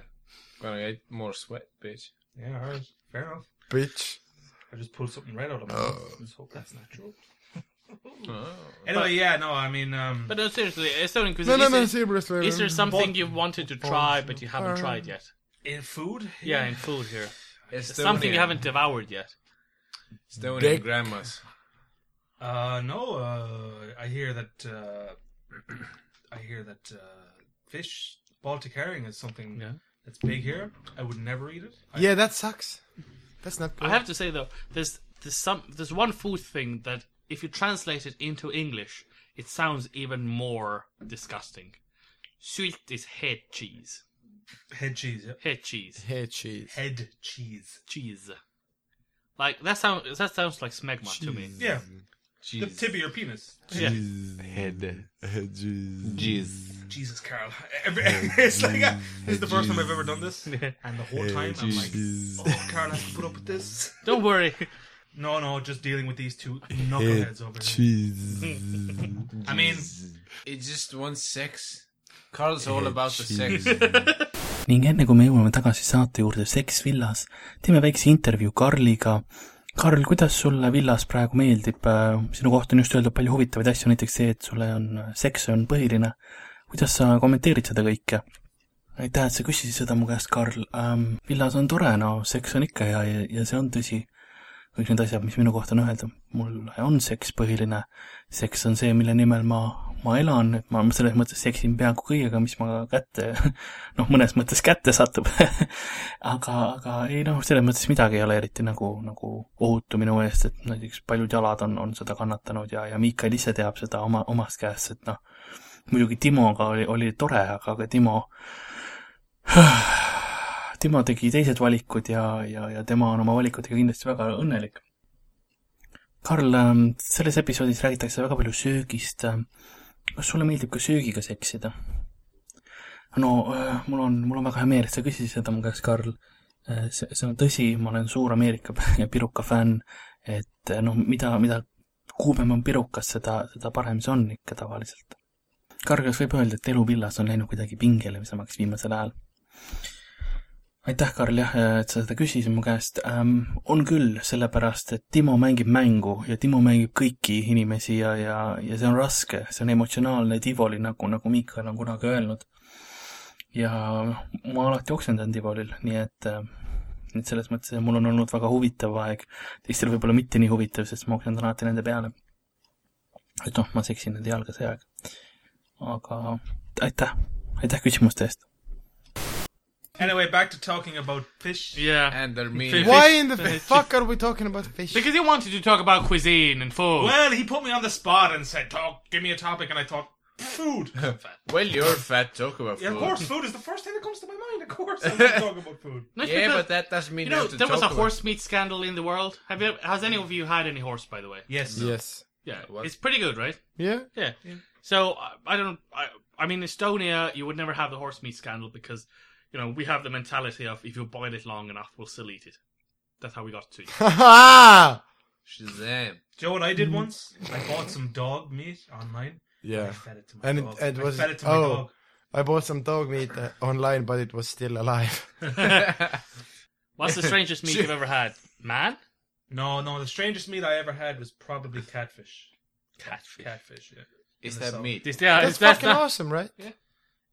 [SPEAKER 5] gonna get more sweat, bitch.
[SPEAKER 4] Yeah, alright. Fair enough.
[SPEAKER 3] Bitch.
[SPEAKER 4] I just pulled something right out of my
[SPEAKER 2] Oh.
[SPEAKER 4] mouth. Let's hope that's not true.
[SPEAKER 5] Oh.
[SPEAKER 4] Anyway, yeah, no, I mean, um,
[SPEAKER 2] But no, seriously, Estonian
[SPEAKER 3] No,
[SPEAKER 2] cuisine.
[SPEAKER 3] no,
[SPEAKER 2] is,
[SPEAKER 3] no,
[SPEAKER 2] it-
[SPEAKER 3] seriously.
[SPEAKER 2] is there something you've wanted to try
[SPEAKER 3] Balls.
[SPEAKER 2] but you haven't
[SPEAKER 3] Uh,
[SPEAKER 2] tried yet?
[SPEAKER 4] in food,
[SPEAKER 2] Yeah, in food here.
[SPEAKER 5] Estonia.
[SPEAKER 2] Something you haven't devoured yet.
[SPEAKER 5] Stoning
[SPEAKER 3] Dick.
[SPEAKER 5] grandmas.
[SPEAKER 4] Uh, no. Uh, I hear that. Uh, I hear that uh, fish Baltic herring is something
[SPEAKER 2] Yeah.
[SPEAKER 4] that's big here. I would never eat it. I,
[SPEAKER 3] Yeah, that sucks. That's not good.
[SPEAKER 2] I have to say though, there's there's some there's one food thing that if you translate it into English, it sounds even more disgusting. Sweet is head cheese.
[SPEAKER 4] Head cheese. Yeah.
[SPEAKER 2] Head cheese.
[SPEAKER 3] Hey, cheese.
[SPEAKER 4] Head cheese.
[SPEAKER 2] Cheese. Like that sounds that sounds like smegma to me.
[SPEAKER 4] Yeah. The
[SPEAKER 5] Jeez.
[SPEAKER 4] tip of your penis.
[SPEAKER 2] Mm-hmm. Yeah.
[SPEAKER 5] Head.
[SPEAKER 3] Jeez.
[SPEAKER 5] Jeez.
[SPEAKER 4] Jesus, Carl. Every, it's like a, this is the first time I've ever done this, and the whole time I'm like, oh, Carl has to put up with this.
[SPEAKER 2] Don't worry.
[SPEAKER 4] No, no, just dealing with these two knuckleheads over here. I mean,
[SPEAKER 5] It's just one sex. Carl's all about the sex.
[SPEAKER 6] ning enne kui me jõuame tagasi saate juurde Seks villas , teeme väikse intervjuu Karliga . Karl , kuidas sulle villas praegu meeldib ? sinu kohta on just öeldud palju huvitavaid asju , näiteks see , et sulle on , seks on põhiline . kuidas sa kommenteerid seda kõike ? aitäh , et sa küsisid seda mu käest , Karl ähm, . villas on tore , no seks on ikka hea ja , ja see on tõsi . kõik need asjad , mis minu kohta on öeldud , mul on seks põhiline . seks on see , mille nimel ma , ma elan , et ma ma selles mõttes seksin peaaegu kõigega , mis ma kätte , noh , mõnes mõttes kätte satub . aga , aga ei noh , selles mõttes midagi ei ole eriti nagu , nagu ohutu minu eest , et näiteks paljud jalad on , on seda kannatanud ja , ja Miikael ise teab seda oma , omast käest , et noh , muidugi Timoga oli , oli tore , aga , aga Timo Timo tegi teised valikud ja , ja , ja tema on oma valikutega kindlasti väga õnnelik . Karl , selles episoodis räägitakse väga palju söögist . kas sulle meeldib ka söögiga seksida ? no äh, mul on , mul on väga hea meel , et sa küsisid seda mu käest , Karl . see , see on tõsi , ma olen suur Ameerika piruka fänn , et eh, noh , mida , mida kuumem on pirukas , seda , seda parem see on ikka tavaliselt . Karl , kas võib öelda , et elu villas on läinud kuidagi pingelisemaks viimasel ajal ? aitäh , Karl , jah , et sa seda küsisid mu käest ähm, . on küll , sellepärast et Timo mängib mängu ja Timo mängib kõiki inimesi ja , ja , ja see on raske , see on emotsionaalne Tivoli , nagu , nagu Miikael on kunagi öelnud . ja noh , ma alati oksendan Tivolil , nii et , et selles mõttes et mul on olnud väga huvitav aeg . teistel võib-olla mitte nii huvitav , sest ma oksendan alati nende peale . et noh , ma seksin nende jalga see aeg . aga aitäh , aitäh küsimuste eest .
[SPEAKER 4] anyway, back to talking about fish.
[SPEAKER 2] Yeah.
[SPEAKER 5] and they're mean.
[SPEAKER 2] Fish.
[SPEAKER 3] Why in the fuck are we talking about fish?
[SPEAKER 2] Because he wanted to talk about cuisine and food.
[SPEAKER 4] Well, he put me on the spot and said, "Talk, give me a topic," and I thought, "Food."
[SPEAKER 5] Well, you're fat. Talk about
[SPEAKER 4] yeah, of
[SPEAKER 5] food.
[SPEAKER 4] course, food is the first thing that comes to my mind. Of course, I'm gonna talk about food.
[SPEAKER 2] No, it's
[SPEAKER 5] Yeah,
[SPEAKER 2] because-
[SPEAKER 5] but that doesn't mean
[SPEAKER 2] you
[SPEAKER 5] you
[SPEAKER 2] know
[SPEAKER 5] have to
[SPEAKER 2] there was a
[SPEAKER 5] talk about-
[SPEAKER 2] horse meat scandal in the world. Have you? Has any of you had any horse, by the way?
[SPEAKER 4] Yes.
[SPEAKER 3] Yes.
[SPEAKER 2] Yeah,
[SPEAKER 5] what?
[SPEAKER 2] it's pretty good, right?
[SPEAKER 3] Yeah?
[SPEAKER 2] Yeah. So I- I don't. I, I mean, Estonia, you would never have the horse meat scandal because, you know, we have the mentality of if you boil it long enough, we'll still eat it. That's how we got to. it.
[SPEAKER 3] yeah.
[SPEAKER 5] Shazam.
[SPEAKER 4] Do you know what I
[SPEAKER 3] Mm.
[SPEAKER 4] did once? I bought some dog meat online. I fed it to my
[SPEAKER 3] And it-
[SPEAKER 4] dog.
[SPEAKER 3] and
[SPEAKER 4] I
[SPEAKER 3] was-
[SPEAKER 4] fed it to my
[SPEAKER 3] oh.
[SPEAKER 4] dog.
[SPEAKER 3] I bought some dog meat uh, online, but it was still alive.
[SPEAKER 2] What's the strangest meat you've ever had? Man,
[SPEAKER 4] No, no, the strangest meat I ever had was probably catfish.
[SPEAKER 2] catfish.
[SPEAKER 4] Catfish, yeah.
[SPEAKER 5] Is
[SPEAKER 4] In the
[SPEAKER 5] that
[SPEAKER 4] south.
[SPEAKER 5] meat?
[SPEAKER 2] This- yeah,
[SPEAKER 3] That's
[SPEAKER 2] it's- that's
[SPEAKER 3] fucking
[SPEAKER 2] not-
[SPEAKER 3] awesome, right?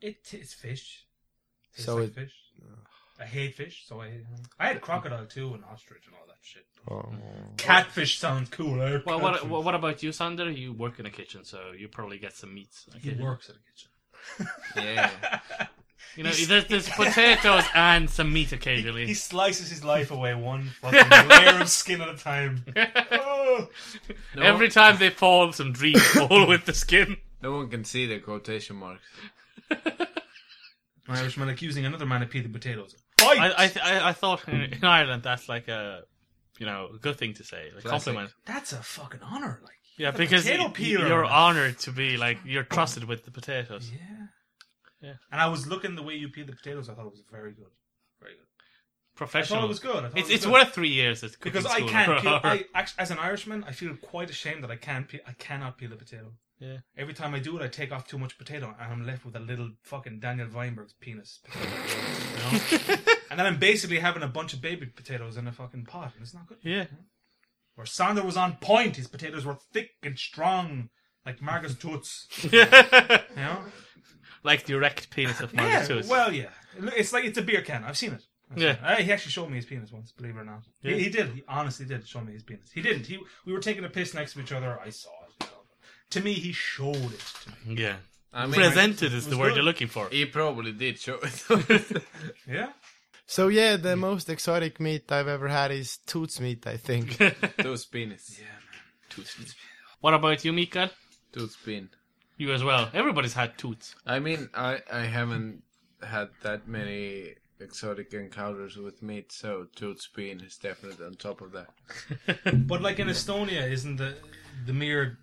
[SPEAKER 4] It tastes fish. Tastes
[SPEAKER 3] So
[SPEAKER 4] like
[SPEAKER 3] it-
[SPEAKER 4] fish. I hate fish, so I hate I had crocodile too and ostrich and all that shit.
[SPEAKER 3] Oh.
[SPEAKER 4] Catfish sounds cool. I heard
[SPEAKER 2] Well, what,
[SPEAKER 4] catfish.
[SPEAKER 2] what what about you, Sander? You work in a kitchen, so you probably get some meats.
[SPEAKER 4] He works at a kitchen.
[SPEAKER 5] Yeah.
[SPEAKER 2] You know, there's, there's potatoes and some meat occasionally.
[SPEAKER 4] He slices his life away one fucking layer of skin at a time. Oh.
[SPEAKER 2] Every time they fall, some dreams fall with the skin.
[SPEAKER 5] No one can see the quotation marks.
[SPEAKER 4] An Irishman accusing another man of peeling potatoes. Bite!
[SPEAKER 2] I I, th- I, I thought in, in Ireland that's like a you know a good thing to say, like
[SPEAKER 5] Classic.
[SPEAKER 2] compliment.
[SPEAKER 4] That's a fucking honor. Like,
[SPEAKER 2] Yeah,
[SPEAKER 4] the
[SPEAKER 2] because
[SPEAKER 4] potato
[SPEAKER 2] y- y-
[SPEAKER 4] peeler.
[SPEAKER 2] you're honored to be like you're trusted with the potatoes.
[SPEAKER 4] yeah.
[SPEAKER 2] Yeah.
[SPEAKER 4] And I was looking the way you peel the potatoes. I thought it was very good. Very good. I
[SPEAKER 2] Professional.
[SPEAKER 4] thought it was good. I
[SPEAKER 2] It's
[SPEAKER 4] thought it was
[SPEAKER 2] it's
[SPEAKER 4] good.
[SPEAKER 2] worth three years at cooking
[SPEAKER 4] because I
[SPEAKER 2] school.
[SPEAKER 4] can't peel. I, act- as an Irishman, I feel quite ashamed that I can't. Peel, I cannot peel a potato.
[SPEAKER 2] Yeah.
[SPEAKER 4] Every time I do it, I take off too much potato, and I'm left with a little fucking Daniel Weinberg's penis. Potato, you know? and then I'm basically having a bunch of baby potatoes in a fucking pot, and it's not good.
[SPEAKER 2] Yeah.
[SPEAKER 4] Where Sander was on point, his potatoes were thick and strong, like Margaret's toots. You know?
[SPEAKER 2] like the erect penis of Margaret
[SPEAKER 4] yeah.
[SPEAKER 2] Toots.
[SPEAKER 4] Well, yeah. Look, It's like it's a beer can. I've seen it.
[SPEAKER 2] Yeah.
[SPEAKER 4] Uh, he actually showed me his penis once, believe it or not.
[SPEAKER 2] Yeah.
[SPEAKER 4] He, he did. He honestly did show me his penis. He didn't. He we were taking a piss next to each other. I saw it. you know. To me, he showed it to me.
[SPEAKER 2] Yeah.
[SPEAKER 5] I mean,
[SPEAKER 2] Presented is the word
[SPEAKER 4] good.
[SPEAKER 2] you're looking for.
[SPEAKER 5] he probably did show it.
[SPEAKER 4] Yeah.
[SPEAKER 3] So yeah, the most exotic meat I've ever had is toots meat, I think.
[SPEAKER 5] Those penis.
[SPEAKER 2] What about you, Mikael?
[SPEAKER 5] Tooth pin.
[SPEAKER 2] You as well. Everybody's had toots.
[SPEAKER 5] I mean, I, I haven't had that many exotic encounters with meat, so tooth pin is definitely on top of that.
[SPEAKER 4] But like in Estonia, isn't the the mere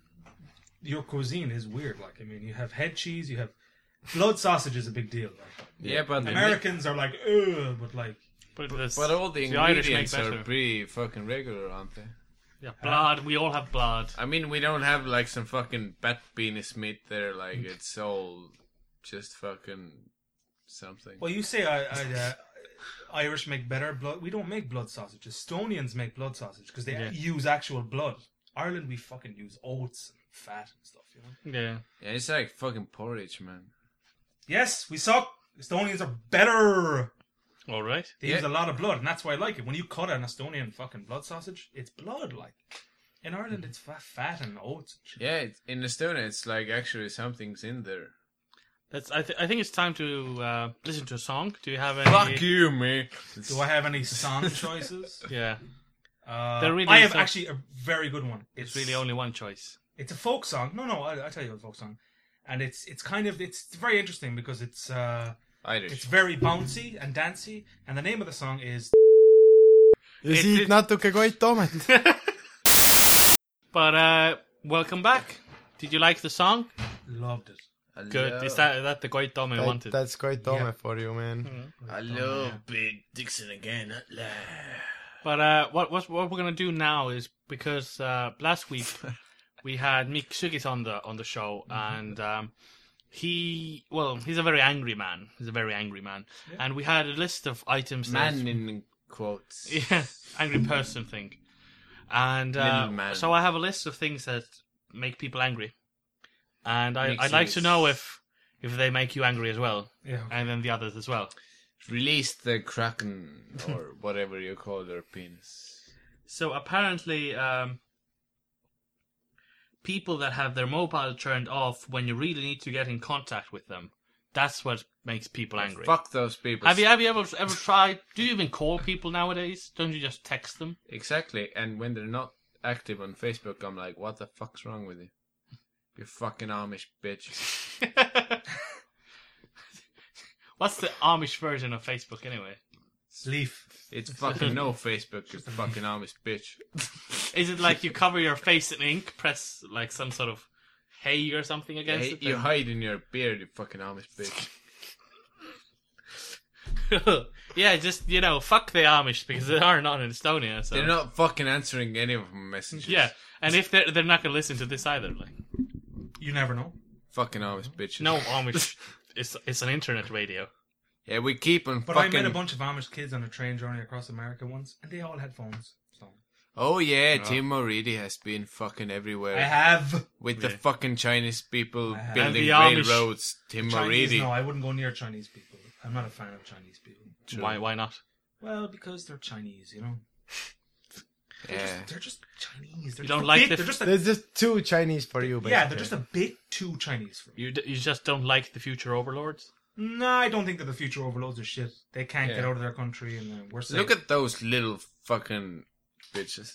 [SPEAKER 4] your cuisine is weird? Like I mean, you have head cheese, you have blood sausage is a big deal. Like,
[SPEAKER 5] Yeah, but the meat-
[SPEAKER 4] Americans are like, ugh, but like
[SPEAKER 2] But, this-
[SPEAKER 5] But all the
[SPEAKER 2] the Irish make
[SPEAKER 5] ingredients are
[SPEAKER 2] better.
[SPEAKER 5] pretty fucking regular, aren't they?
[SPEAKER 2] yeah, blood. We all have blood.
[SPEAKER 5] I mean, we don't have like some fucking bat penis meat there. Like it's all just fucking something.
[SPEAKER 4] Well, you say I, I, uh, Irish make better blood. We don't make blood sausage. Estonians make blood sausage because they
[SPEAKER 2] Yeah.
[SPEAKER 4] use actual blood. Ireland, we fucking use oats and fat and stuff. You know.
[SPEAKER 2] Yeah.
[SPEAKER 5] Yeah, it's like fucking porridge, man.
[SPEAKER 4] Yes, we suck. Estonians are better.
[SPEAKER 2] All right.
[SPEAKER 4] They
[SPEAKER 5] Yeah.
[SPEAKER 4] use a lot of blood, and that's why I like it. When you cut an Estonian fucking blood sausage, it's blood. Like in Ireland, it's fa- fat and oats. And shit.
[SPEAKER 5] Yeah, it, in Estonia, it's like actually something's in there.
[SPEAKER 2] That's. I, th- I think it's time to uh, listen to a song. Do you have any?
[SPEAKER 5] Fuck you, me.
[SPEAKER 4] Do I have any song choices?
[SPEAKER 2] Yeah.
[SPEAKER 4] Uh,
[SPEAKER 2] There really
[SPEAKER 4] I
[SPEAKER 2] is
[SPEAKER 4] have
[SPEAKER 2] a-
[SPEAKER 4] actually a very good one.
[SPEAKER 2] It's really only one choice.
[SPEAKER 4] it's a folk song. No, no, I, I tell you a folk song, and it's it's kind of it's very interesting because it's uh it's
[SPEAKER 5] Irish.
[SPEAKER 4] very bouncy and dancey, and the name of the song is
[SPEAKER 3] ja
[SPEAKER 2] It-
[SPEAKER 3] siit
[SPEAKER 2] it-
[SPEAKER 3] natuke Koit Toomet .
[SPEAKER 2] But uh, welcome back. Did you like the song?
[SPEAKER 4] "Loved It."
[SPEAKER 2] Good.
[SPEAKER 5] Hello.
[SPEAKER 2] Is that that the great Dom I wanted?
[SPEAKER 3] That's Koit Toomet for you man .
[SPEAKER 4] Mm-hmm.
[SPEAKER 2] Oh,
[SPEAKER 5] Hello, Big Dixon again at last.
[SPEAKER 2] But uh, what what what we're gonna do now is because uh, last week we had Mick Sugis on the on the show, and um, he well he's a very angry man. He's a very angry man, and we had a list of items. that-
[SPEAKER 5] Man in quotes.
[SPEAKER 2] yeah, angry person thing. And
[SPEAKER 5] Little
[SPEAKER 2] uh,
[SPEAKER 5] man.
[SPEAKER 2] so I have a list of things that make people angry, and I,
[SPEAKER 5] Mick
[SPEAKER 2] I'd like to
[SPEAKER 5] Sugis.
[SPEAKER 2] know if if they make you angry as well,
[SPEAKER 4] Yeah,
[SPEAKER 2] and then the others as well.
[SPEAKER 5] Release the kraken or whatever you call your penis.
[SPEAKER 2] So apparently, um, people that have their mobile turned off when you really need to get in contact with them, that's what makes people angry.
[SPEAKER 5] Fuck those people.
[SPEAKER 2] Have you have you ever ever tried? Do you even call people nowadays? Don't you just text them?
[SPEAKER 5] Exactly. And when they're not active on Facebook, I'm like, what the fuck's wrong with you? You fucking Amish bitch.
[SPEAKER 2] What's the Amish version of Facebook anyway?
[SPEAKER 4] leaf.
[SPEAKER 5] It's fucking no Facebook, you fucking Amish bitch.
[SPEAKER 2] Is it like you cover your face in ink, press like some sort of hay or something
[SPEAKER 5] You
[SPEAKER 2] against
[SPEAKER 5] hi-
[SPEAKER 2] it?
[SPEAKER 5] you
[SPEAKER 2] and-
[SPEAKER 5] hide in your beard, you fucking Amish bitch.
[SPEAKER 2] yeah, just you know, fuck the Amish because they are not in Estonia. So
[SPEAKER 5] They're not fucking answering any of my messages.
[SPEAKER 2] Yeah, and if they're they're not gonna listen to this either, like
[SPEAKER 4] You never know.
[SPEAKER 5] Fucking Amish bitches.
[SPEAKER 2] no Amish, it's it's an internet radio.
[SPEAKER 5] Yeah, we keep on
[SPEAKER 4] But
[SPEAKER 5] fucking.
[SPEAKER 4] I met a bunch of Amish kids on a train journey across America once, and they all had phones. So
[SPEAKER 5] oh yeah, Tim O'Reilly has been fucking everywhere.
[SPEAKER 4] I have
[SPEAKER 5] With the fucking Chinese people
[SPEAKER 4] have.
[SPEAKER 5] building
[SPEAKER 2] And the Amish.
[SPEAKER 5] railroads. Tim
[SPEAKER 4] Chinese.
[SPEAKER 5] O'Reilly.
[SPEAKER 4] No, I wouldn't go near Chinese people. I'm not a fan of Chinese people.
[SPEAKER 2] Why why not?
[SPEAKER 4] Well, because they're Chinese, you know.
[SPEAKER 5] Yeah.
[SPEAKER 4] They're just Chinese. They're
[SPEAKER 2] You
[SPEAKER 4] just
[SPEAKER 2] don't
[SPEAKER 4] a
[SPEAKER 2] like
[SPEAKER 4] bit-
[SPEAKER 2] the-
[SPEAKER 4] They're just a,
[SPEAKER 3] There's just two Chinese for you
[SPEAKER 4] yeah. They're just
[SPEAKER 3] basically .
[SPEAKER 4] a bit too Chinese for me.
[SPEAKER 2] You d- you just don't like the future overlords.
[SPEAKER 4] No, I don't think that the future overloads are shit. They can't
[SPEAKER 5] Yeah.
[SPEAKER 4] get out of their country, and uh, we're safe.
[SPEAKER 5] Look at those little fucking bitches.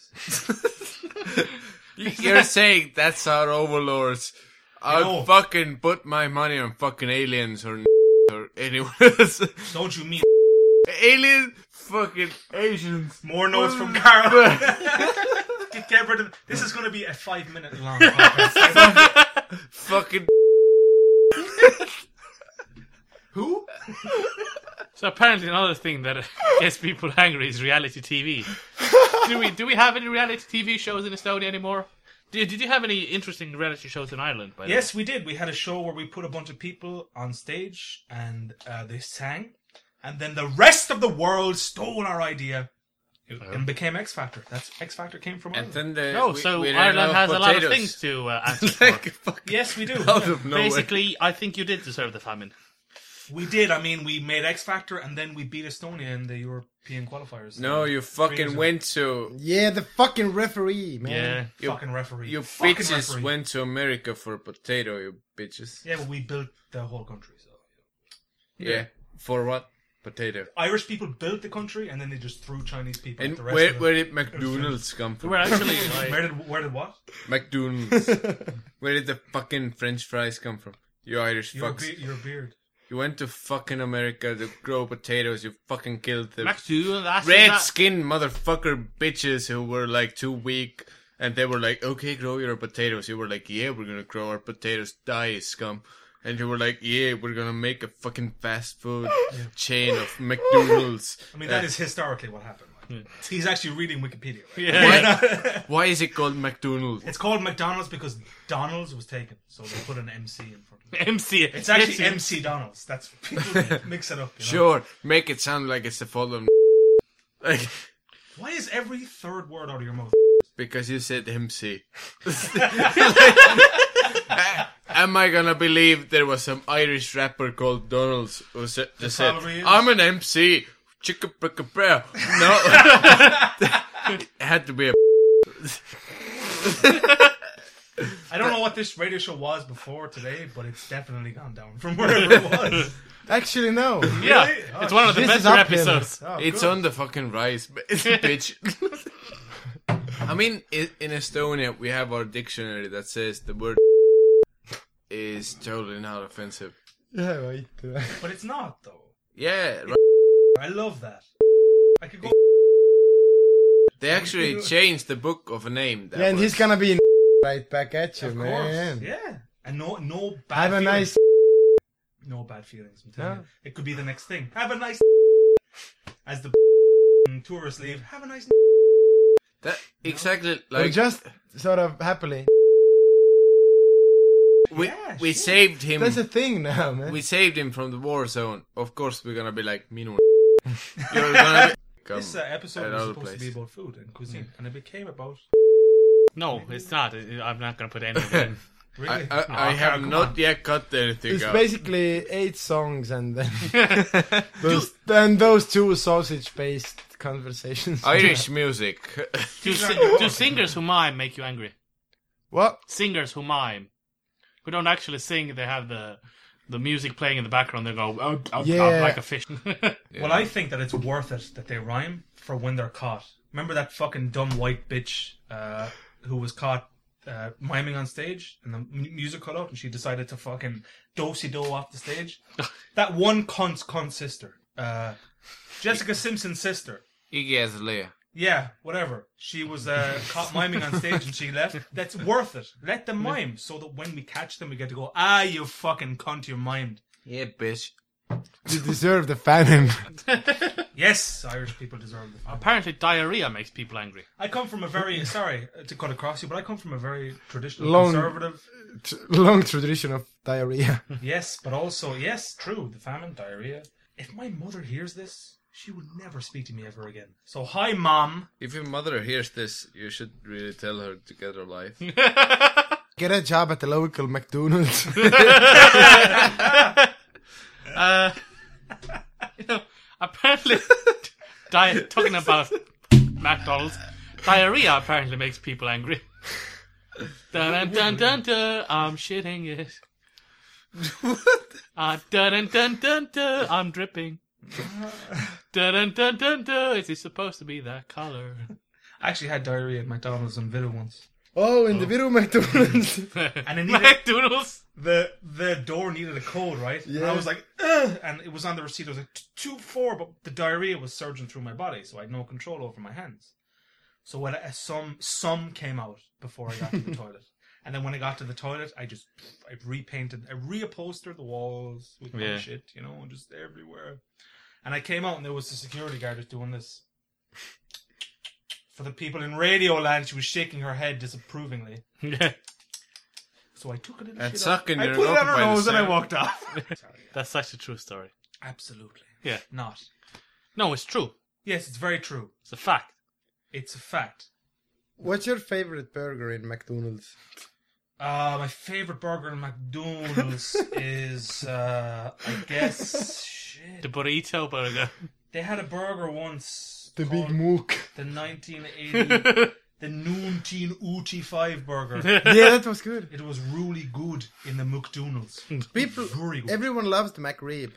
[SPEAKER 5] You're saying that's our overlords. I'll
[SPEAKER 4] No.
[SPEAKER 5] fucking put my money on fucking aliens or or anyone else.
[SPEAKER 4] don't you mean
[SPEAKER 5] Alien fucking Asians.
[SPEAKER 4] more notes from Carl? Get- get rid of this. Is going to be a five minute long podcast.
[SPEAKER 5] fucking
[SPEAKER 4] Who?
[SPEAKER 2] So apparently another thing that gets people angry is reality TV. do we do we have any reality TV shows in Estonia anymore? Did, did you have any interesting reality shows in Ireland? By the
[SPEAKER 4] Yes, we did. We had a show where we put a bunch of people on stage and uh, they sang, and then the rest of the world stole our idea and became X Factor. That's X Factor came from
[SPEAKER 5] Uh-huh. And
[SPEAKER 4] Ireland.
[SPEAKER 5] then the,
[SPEAKER 2] way? Oh,
[SPEAKER 5] we-
[SPEAKER 2] so
[SPEAKER 5] we ran
[SPEAKER 2] Ireland
[SPEAKER 5] out
[SPEAKER 2] has
[SPEAKER 5] of
[SPEAKER 2] a lot of
[SPEAKER 5] potatoes.
[SPEAKER 2] things to uh, answer for.
[SPEAKER 5] like fucking
[SPEAKER 4] Yes, we do.
[SPEAKER 5] out of nowhere.
[SPEAKER 2] Basically, I think you did deserve the famine.
[SPEAKER 4] We did. I mean, we made X Factor, and then we beat Estonia in the European qualifiers.
[SPEAKER 5] No, you fucking
[SPEAKER 4] Freezer.
[SPEAKER 5] went to
[SPEAKER 3] Yeah, the fucking
[SPEAKER 2] Yeah.
[SPEAKER 3] referee, man.
[SPEAKER 4] fucking referee.
[SPEAKER 5] you
[SPEAKER 4] fucking
[SPEAKER 5] bitches
[SPEAKER 4] referee.
[SPEAKER 5] went to America for a potato, you bitches.
[SPEAKER 4] Yeah, but we built the whole country. So
[SPEAKER 5] Yeah. For what? Potato.
[SPEAKER 4] Irish people built the country, and then they just threw Chinese people.
[SPEAKER 5] And
[SPEAKER 4] at the rest
[SPEAKER 5] where
[SPEAKER 4] of it.
[SPEAKER 5] where did McDonald's come
[SPEAKER 2] We
[SPEAKER 5] from?
[SPEAKER 2] were actually
[SPEAKER 4] where
[SPEAKER 2] like,
[SPEAKER 4] did where did what?
[SPEAKER 5] McDonald's. where did the fucking French fries come from? You Irish
[SPEAKER 4] Your,
[SPEAKER 5] fucks.
[SPEAKER 4] be- your beard.
[SPEAKER 5] You went to fucking America to grow potatoes. You fucking killed the
[SPEAKER 2] Max Dugan, that's
[SPEAKER 5] red
[SPEAKER 2] that-
[SPEAKER 5] skin motherfucker bitches who were like too weak. And they were like, okay, grow your potatoes. You were like, yeah, we're gonna grow our potatoes. Die, scum. And you were like, yeah, we're gonna make a fucking fast food chain of McDonald's. Uh,
[SPEAKER 4] I mean, that is historically what happened. Like. He's actually reading Wikipedia. Right?
[SPEAKER 5] Why, why is it called McDonald's?
[SPEAKER 4] It's called McDonald's because Donald's was taken, so they put an MC in front of it.
[SPEAKER 2] MC.
[SPEAKER 4] It's actually MC Donald's. That's people mix it up. You know?
[SPEAKER 5] Sure, make it sound like it's the following. Like,
[SPEAKER 4] Why is every third word out of your mouth?
[SPEAKER 5] because you said MC. Am I gonna believe there was some Irish rapper called Donalds who sa- just said,
[SPEAKER 4] probably is.
[SPEAKER 5] I'm an MC, chicka bricka bra." No. it had to be a.
[SPEAKER 4] I don't know what this radio show was before today, but it's definitely gone down from wherever it was.
[SPEAKER 3] Actually, no.
[SPEAKER 2] Yeah,
[SPEAKER 4] Really? Oh,
[SPEAKER 2] it's one of the
[SPEAKER 3] This
[SPEAKER 2] best
[SPEAKER 3] is up here.
[SPEAKER 2] episodes.
[SPEAKER 3] Oh,
[SPEAKER 5] It's on the fucking rise, b- bitch. I mean, i- in Estonia, we have our dictionary that says the word is totally not offensive.
[SPEAKER 3] yeah, right.
[SPEAKER 4] But it's not though.
[SPEAKER 5] Yeah, right.
[SPEAKER 4] I love that. I could go.
[SPEAKER 5] They actually changed the book of a name. That
[SPEAKER 3] yeah, and
[SPEAKER 5] was-
[SPEAKER 3] he's gonna be in right back at you,
[SPEAKER 4] Of
[SPEAKER 3] man.
[SPEAKER 4] course. Yeah. And no, no bad.
[SPEAKER 3] Have a
[SPEAKER 4] feelings.
[SPEAKER 3] nice.
[SPEAKER 4] No bad feelings. I'm telling
[SPEAKER 3] No.
[SPEAKER 4] you. It could be the next thing. Have a nice. As the tourists leave, have a nice.
[SPEAKER 5] That exactly
[SPEAKER 3] Or
[SPEAKER 5] like
[SPEAKER 3] just sort of happily.
[SPEAKER 5] we
[SPEAKER 4] Yeah,
[SPEAKER 5] we
[SPEAKER 4] shit.
[SPEAKER 5] saved him.
[SPEAKER 3] That's a thing now, man.
[SPEAKER 5] We saved him from the war zone. Of course, we're gonna be like mean. one." You're gonna be, come
[SPEAKER 4] This uh, episode was
[SPEAKER 5] another
[SPEAKER 4] supposed to be
[SPEAKER 5] place.
[SPEAKER 4] about food and cuisine,
[SPEAKER 3] Mm.
[SPEAKER 4] and it became about
[SPEAKER 2] No, it's not. It- I'm not going to put any of it in.
[SPEAKER 5] I,
[SPEAKER 4] really.
[SPEAKER 5] I, I
[SPEAKER 2] Oh,
[SPEAKER 5] have
[SPEAKER 2] come
[SPEAKER 5] not
[SPEAKER 2] on.
[SPEAKER 5] yet cut anything
[SPEAKER 3] It's
[SPEAKER 5] out.
[SPEAKER 3] basically eight songs and then those, and those two sausage-based conversations.
[SPEAKER 5] Irish music.
[SPEAKER 2] Do, si- do singers who mime make you angry?
[SPEAKER 3] What?
[SPEAKER 2] Singers who mime, who don't actually sing, they have the the music playing in the background. They go, oh, oh,
[SPEAKER 3] Yeah.
[SPEAKER 2] like a fish.
[SPEAKER 4] Well, I think that it's worth it that they rhyme for when they're caught. Remember that fucking dumb white bitch uh, who was caught uh, miming on stage, and the mu- music cut out, and she decided to fucking dosey do off the stage. that one cunt's cunt sister, uh, Jessica Simpson's sister.
[SPEAKER 5] Iggy Azalea.
[SPEAKER 4] Yeah, whatever. She was uh, caught miming on stage and she left. That's worth it. Let them mime so that when we catch them, we get to go, ah, you fucking cunt, you mimed.
[SPEAKER 5] Yeah, bitch.
[SPEAKER 3] You deserve the fan.
[SPEAKER 4] Yes, Irish people deserve the
[SPEAKER 2] Apparently, diarrhea makes people angry.
[SPEAKER 4] I come from a very sorry uh, to cut across you, but I come from a very traditional
[SPEAKER 3] Long-
[SPEAKER 4] conservative.
[SPEAKER 3] T- Long tradition of diarrhea.
[SPEAKER 4] Yes, but also yes, true. The famine, diarrhea. If my mother hears this, she would never speak to me ever again. So hi, mom.
[SPEAKER 5] If your mother hears this, you should really tell her to get her life.
[SPEAKER 3] Get a job at the local McDonald's.
[SPEAKER 2] Uh, you know, apparently, di- talking about McDonald's, diarrhea apparently makes people angry. Dun dun dun dun dun, I'm shitting it. Uh, dun dun dun dun dun, I'm dripping. Dun dun dun dun dun, is it supposed to be that color?
[SPEAKER 4] I actually had diarrhea at McDonald's in Villa once,
[SPEAKER 3] oh, in the video McDonald's.
[SPEAKER 4] and it needed,
[SPEAKER 2] McDonald's?
[SPEAKER 4] the the door needed a code, right? And
[SPEAKER 3] Yeah.
[SPEAKER 4] I was like, Ugh! and it was on the receipt. I was like two four, but the diarrhea was surging through my body, so I had no control over my hands. So when I, some some came out before I got to the toilet, and then when I got to the toilet, I just I repainted, I reupholstered the walls with my
[SPEAKER 2] Yeah.
[SPEAKER 4] shit, you know, and just everywhere. And I came out, and there was the security guard just doing this. For the people in radio land, she was shaking her head disapprovingly.
[SPEAKER 2] Yeah,
[SPEAKER 4] So I took a little
[SPEAKER 5] And
[SPEAKER 4] shit
[SPEAKER 5] sucking
[SPEAKER 4] off. I
[SPEAKER 5] your
[SPEAKER 4] put it
[SPEAKER 5] knob
[SPEAKER 4] on her
[SPEAKER 5] by the
[SPEAKER 4] nose and I
[SPEAKER 5] side.
[SPEAKER 4] walked off.
[SPEAKER 2] that's such a true story.
[SPEAKER 4] Absolutely.
[SPEAKER 2] Yeah.
[SPEAKER 4] Not.
[SPEAKER 2] No, it's true.
[SPEAKER 4] Yes, it's very true.
[SPEAKER 2] It's a fact.
[SPEAKER 4] It's a fact.
[SPEAKER 3] What's your favorite burger in McDonald's?
[SPEAKER 4] Uh, my favorite burger in McDonald's is, uh, I guess, shit.
[SPEAKER 2] The burrito burger.
[SPEAKER 4] They had a burger once.
[SPEAKER 3] The
[SPEAKER 4] called
[SPEAKER 3] big mook.
[SPEAKER 4] The 1980, the Noontine Uchi 5 burger.
[SPEAKER 3] Yeah, that was good.
[SPEAKER 4] It was really good in the McDonald's.
[SPEAKER 3] People,
[SPEAKER 4] Very good.
[SPEAKER 3] everyone loves the McRib.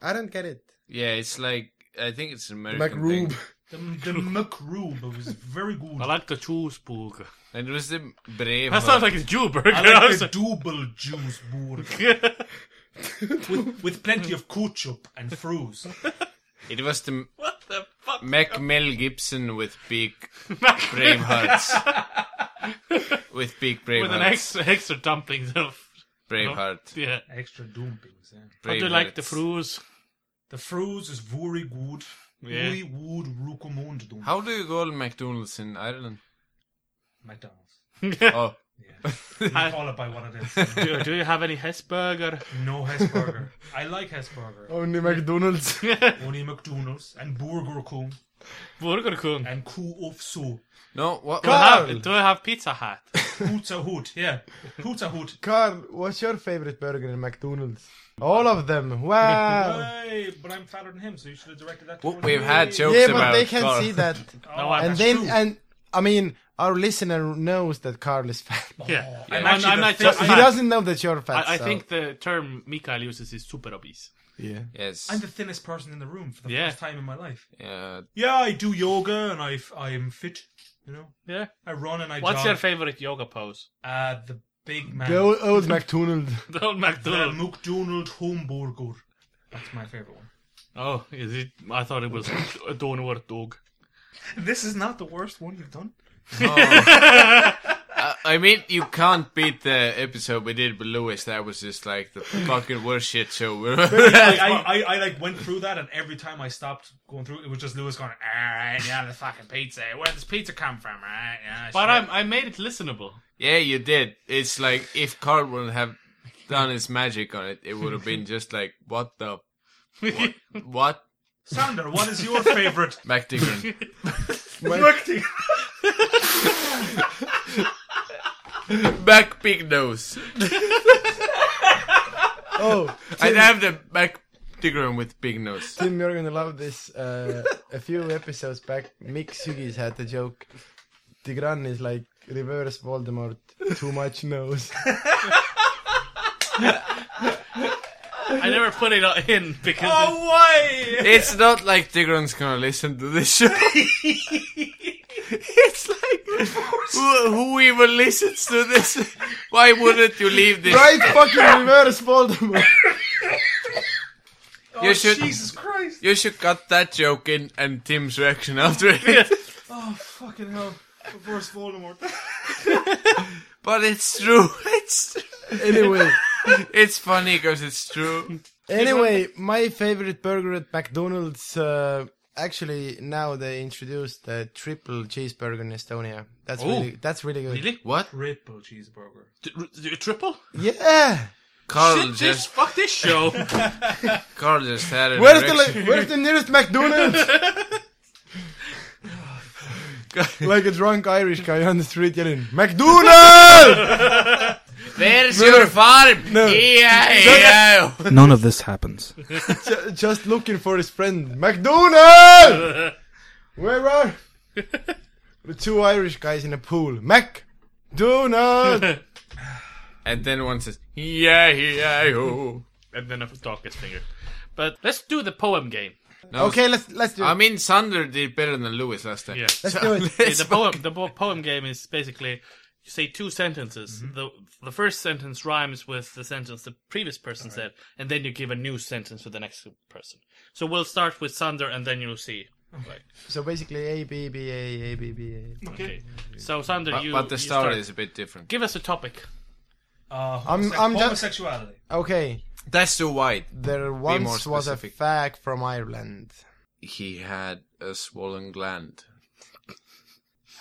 [SPEAKER 3] I don't get it.
[SPEAKER 5] Yeah, it's like I think it's an American
[SPEAKER 3] McRib.
[SPEAKER 5] thing.
[SPEAKER 4] The, the McRube was very good.
[SPEAKER 2] I like the cheeseburger.
[SPEAKER 5] And it was the brave.
[SPEAKER 2] That sounds like a Jew burger.
[SPEAKER 4] I like the double juice burger with, with plenty of ketchup and fruits.
[SPEAKER 5] it was the
[SPEAKER 2] what the fuck?
[SPEAKER 5] Mac Mel Gibson with big brave hearts. with big brave
[SPEAKER 2] With an
[SPEAKER 5] hearts.
[SPEAKER 2] extra extra dumplings of
[SPEAKER 5] brave heart.
[SPEAKER 2] yeah.
[SPEAKER 4] Extra dumplings. Yeah.
[SPEAKER 2] I
[SPEAKER 5] Brave
[SPEAKER 2] do like the
[SPEAKER 5] hearts.
[SPEAKER 2] fruits.
[SPEAKER 4] The fruits is very good.
[SPEAKER 2] Yeah.
[SPEAKER 4] We would recommend them.
[SPEAKER 5] How do you call McDonald's in Ireland?
[SPEAKER 4] McDonald's.
[SPEAKER 5] Oh,
[SPEAKER 4] Yeah. We call it by what it is.
[SPEAKER 2] Do, do you have any Hesburger?
[SPEAKER 4] No Hesburger. I like Hesburger.
[SPEAKER 3] Only McDonald's.
[SPEAKER 4] Only McDonald's and Burger Kung
[SPEAKER 2] Burger Kung.
[SPEAKER 4] and Ku of So.
[SPEAKER 5] no, what?
[SPEAKER 2] Do I
[SPEAKER 3] Carl.
[SPEAKER 2] have, do I have Pizza Hut?
[SPEAKER 4] Pizza Hut, yeah. Pizza Hut.
[SPEAKER 3] Carl, what's your favorite burger in McDonald's? All of them. Wow.
[SPEAKER 4] Hey, but I'm fatter than him, so you should have directed that
[SPEAKER 5] Well,
[SPEAKER 4] towards
[SPEAKER 5] we've
[SPEAKER 4] me.
[SPEAKER 5] had jokes
[SPEAKER 3] yeah,
[SPEAKER 5] about
[SPEAKER 3] but they can
[SPEAKER 5] Carl.
[SPEAKER 3] see that.
[SPEAKER 2] No, Oh, I'm
[SPEAKER 3] and
[SPEAKER 2] not.
[SPEAKER 3] then,
[SPEAKER 4] true.
[SPEAKER 3] and I mean, our listener knows that Carl is fat.
[SPEAKER 2] Yeah. I'm,
[SPEAKER 4] I'm actually
[SPEAKER 2] I'm
[SPEAKER 4] the
[SPEAKER 2] not
[SPEAKER 4] third-
[SPEAKER 2] just
[SPEAKER 3] he
[SPEAKER 2] fat.
[SPEAKER 3] doesn't know that you're fat.
[SPEAKER 2] I, I
[SPEAKER 3] so-
[SPEAKER 2] think the term Mikael uses is super obese.
[SPEAKER 3] Yeah.
[SPEAKER 5] Yes.
[SPEAKER 4] I'm the thinnest person in the room for the
[SPEAKER 2] Yeah.
[SPEAKER 4] first time in my life.
[SPEAKER 5] Yeah,
[SPEAKER 4] Yeah, I do yoga and I I'm fit. You know,
[SPEAKER 2] Yeah.
[SPEAKER 4] I run and I
[SPEAKER 2] What's
[SPEAKER 4] jog.
[SPEAKER 2] your favorite yoga pose?
[SPEAKER 4] uh, the big man,
[SPEAKER 3] The old, old McDonald's.
[SPEAKER 2] The old
[SPEAKER 4] the
[SPEAKER 2] McDonald's.
[SPEAKER 4] McDonald Homburger. That's my favorite one.
[SPEAKER 2] Oh, is it? I thought it was a donut dog.
[SPEAKER 4] This is not the worst one you've done.
[SPEAKER 5] I- I mean, you can't beat the episode we did with Lewis. That was just like the fucking worst shit show.
[SPEAKER 4] I, I, I, I like went through that, and every time I stopped going through, it was just Lewis going, "All right, yeah, the fucking pizza. Where does pizza come from, right? Yeah,
[SPEAKER 2] But I'm,
[SPEAKER 4] shit."
[SPEAKER 2] I made it listenable.
[SPEAKER 5] yeah, you did. It's like if Carl wouldn't have done his magic on it, it would have been just like, what the, what,
[SPEAKER 4] Sander, what is your favorite?
[SPEAKER 5] MacDiggin?
[SPEAKER 4] McDonald?
[SPEAKER 5] Mac Big Nose.
[SPEAKER 3] Oh,
[SPEAKER 5] I'd have the MacDiggin with Big Nose.
[SPEAKER 3] Tim, you're gonna love this. Uh, a few episodes back, Mick Sugis had the joke. Tigran is like reverse Voldemort, too much nose.
[SPEAKER 2] I never put it in because
[SPEAKER 4] oh, why?
[SPEAKER 5] It's not like Tigran's gonna listen to this show. it's like who, who even listens to this? Why wouldn't you leave this?
[SPEAKER 3] right fucking reverse Voldemort!
[SPEAKER 5] You should
[SPEAKER 4] oh, Jesus Christ!
[SPEAKER 5] you should cut that joke in and Tim's reaction after it.
[SPEAKER 4] Oh, fucking hell! Reverse Voldemort.
[SPEAKER 5] But it's true. It's
[SPEAKER 3] Anyway,
[SPEAKER 5] it's funny because it's true.
[SPEAKER 3] anyway, my favorite burger at McDonald's. Uh, actually, now they introduced the triple cheeseburger in Estonia. That's really that's really good.
[SPEAKER 2] really,
[SPEAKER 5] What?
[SPEAKER 4] Triple cheeseburger.
[SPEAKER 2] D- d- triple?
[SPEAKER 3] Yeah.
[SPEAKER 5] Carl
[SPEAKER 2] Shit, this,
[SPEAKER 5] just
[SPEAKER 2] fuck this show.
[SPEAKER 5] Carl just had an
[SPEAKER 3] Where's the
[SPEAKER 5] erection.
[SPEAKER 3] li- where's the nearest McDonald's? like a drunk Irish guy on the street yelling, McDonald!
[SPEAKER 5] Where's your farm? E
[SPEAKER 3] No.
[SPEAKER 5] Yeah, yeah.
[SPEAKER 7] None of this happens.
[SPEAKER 3] Ju- just looking for his friend, McDonald! Where are the two Irish guys in a pool? McDonald!
[SPEAKER 5] And then one says, E yeah, yeah, oh.
[SPEAKER 2] and then a darkest finger. But let's do the poem game.
[SPEAKER 3] okay, let's let's do it.
[SPEAKER 5] I mean, Sander did better than Lewis last time.
[SPEAKER 2] Yeah.
[SPEAKER 3] let's do it.
[SPEAKER 2] Yeah, the poem the po- poem game is basically you say two sentences. The the first sentence rhymes with the sentence the previous person said, and then you give a new sentence to the next person. So we'll start with Sander, and then you'll see.
[SPEAKER 3] So basically, A B B A A B B A.
[SPEAKER 2] Okay. So Sander,
[SPEAKER 5] But,
[SPEAKER 2] you.
[SPEAKER 5] but the
[SPEAKER 2] you
[SPEAKER 5] story
[SPEAKER 2] start.
[SPEAKER 5] is a bit different.
[SPEAKER 2] Give us a topic.
[SPEAKER 4] Uh,
[SPEAKER 3] I'm-
[SPEAKER 4] homose-
[SPEAKER 3] I'm just-
[SPEAKER 4] homosexuality.
[SPEAKER 3] Okay,
[SPEAKER 5] That's too wide.
[SPEAKER 3] there once was a
[SPEAKER 5] specific.
[SPEAKER 3] fag from Ireland.
[SPEAKER 5] He had a swollen gland.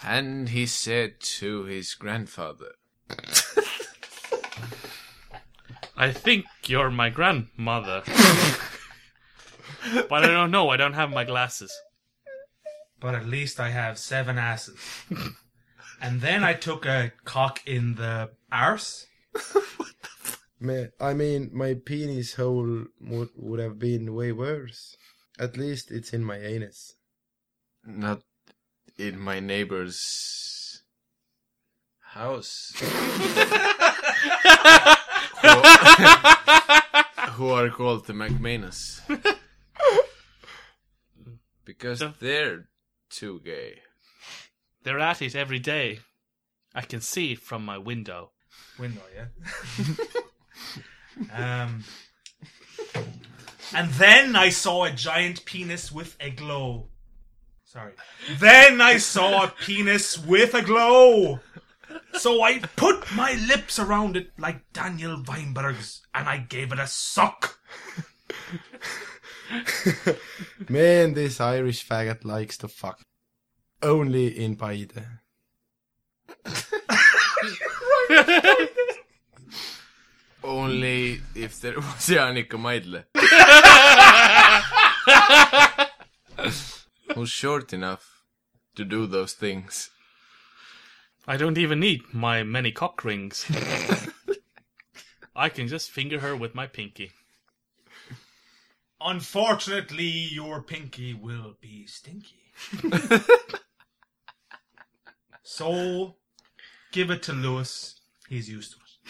[SPEAKER 5] And he said to his grandfather,
[SPEAKER 2] I think you're my grandmother. but I don't know. I don't have my glasses.
[SPEAKER 4] But at least I have seven asses. and then I took a cock in the Arse?
[SPEAKER 3] Me, I mean, my penis hole would, would have been way worse. At least it's in my anus.
[SPEAKER 5] Not in my neighbor's house. who, who are called the McManus. Because
[SPEAKER 2] So-
[SPEAKER 5] they're too gay.
[SPEAKER 2] They're at it every day. I can see it from my window.
[SPEAKER 4] Window, yeah. um, and then I saw a giant penis with a glow. Sorry. Then I saw a penis with a glow. So I put my lips around it like Daniel Weinberg's and I gave it a suck.
[SPEAKER 3] Man, this Irish faggot likes to fuck. Only in Paide.
[SPEAKER 5] Only if there was Janika Meidle. Who's short enough to do those things.
[SPEAKER 2] I don't even need my many cock rings. I can just finger her with my pinky.
[SPEAKER 4] Unfortunately, your pinky will be stinky. so, give it to Lewis. He's used to it.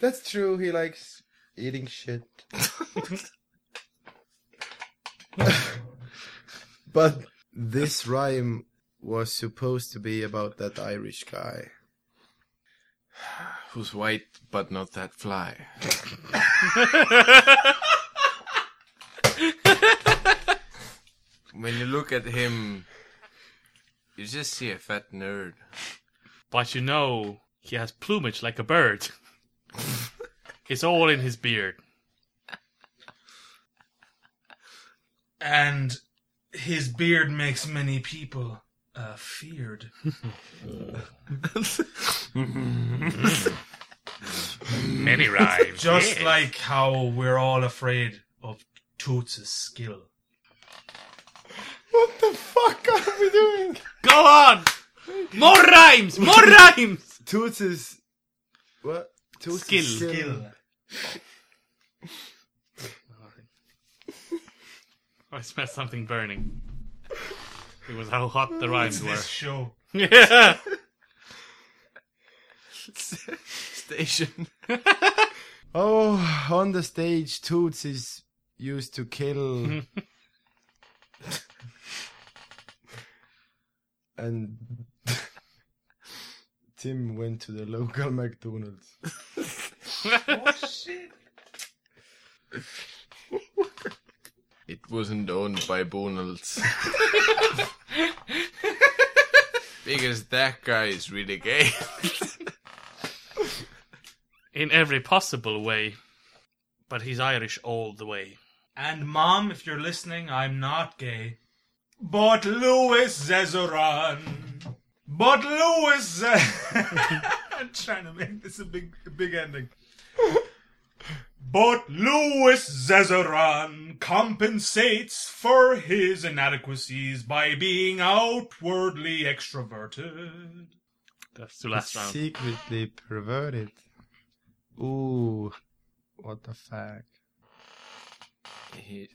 [SPEAKER 3] That's true, he likes eating shit. but this rhyme was supposed to be about that Irish guy.
[SPEAKER 5] Who's white but not that fly. when you look at him, you just see a fat nerd.
[SPEAKER 2] But you know, he has plumage like a bird. it's all in his beard.
[SPEAKER 4] And his beard makes many people uh, feared.
[SPEAKER 2] Many rhymes.
[SPEAKER 4] Just like how we're all afraid of Toots' skill.
[SPEAKER 3] What the fuck are we doing?
[SPEAKER 2] Go on! More rhymes! More rhymes!
[SPEAKER 3] Toots is. What? Toots
[SPEAKER 2] Skill.
[SPEAKER 4] Skill.
[SPEAKER 2] I smell something burning. It was how hot the rhymes were.
[SPEAKER 4] This show.
[SPEAKER 2] Yeah.
[SPEAKER 5] Station.
[SPEAKER 3] Oh, on the stage, Toots is used to kill. and Tim went to the local McDonald's.
[SPEAKER 5] It wasn't owned by Bonalds. because that guy is really gay.
[SPEAKER 2] In every possible way. But he's Irish all the way.
[SPEAKER 4] And mom, if you're listening, I'm not gay. But Louis Zezoran. But Louis Ze- I'm trying to make this a big a big ending. But Louis Zezoran compensates for his inadequacies by being outwardly extroverted.
[SPEAKER 2] That's the last round.
[SPEAKER 3] Secretly perverted. Ooh, what the fuck?
[SPEAKER 5] He,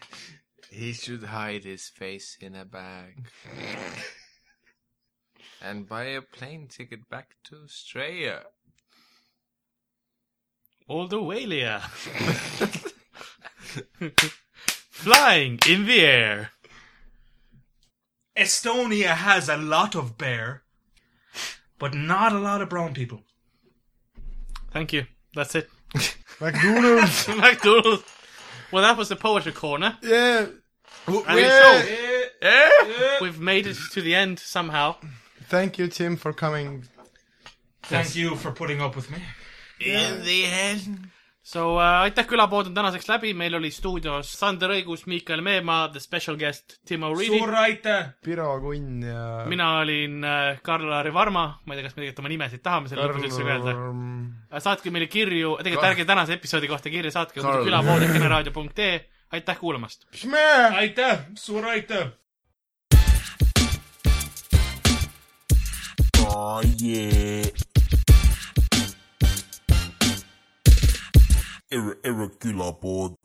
[SPEAKER 5] he should hide his face in a bag. and buy a plane ticket back to Australia.
[SPEAKER 2] All the way, Leah. Flying in the air.
[SPEAKER 4] Estonia has a lot of bear, but not a lot of brown people.
[SPEAKER 2] Thank you. That's it.
[SPEAKER 3] McDonald's!
[SPEAKER 2] McDonald's. Well, that was the poetry corner.
[SPEAKER 3] yeah!
[SPEAKER 2] And
[SPEAKER 3] Yeah.
[SPEAKER 2] so, we've made it to the end somehow.
[SPEAKER 3] Thank you, Tim, for coming.
[SPEAKER 4] Thank you for putting up with me.
[SPEAKER 5] In the end.
[SPEAKER 2] so äh, aitäh külapood on tänaseks läbi , meil oli stuudios Sander Õigus , Miikael Meemaa , the special guest Timo Reidi
[SPEAKER 4] suur . aitäh ,
[SPEAKER 3] Piro Kunn ja...
[SPEAKER 2] mina olin äh, Karl-Lari Varma , ma ei tea , kas me tegelikult oma nimesid tahame selle lõpus üldse öelda . saatke meile kirju , tegelikult ärge tänase episoodi kohta kirja saatke ,
[SPEAKER 5] Karl-
[SPEAKER 2] külapood.kenaraadio.ee aitäh kuulamast .
[SPEAKER 4] aitäh , suur aitäh .
[SPEAKER 1] Oh yeah. Ir- irregular board.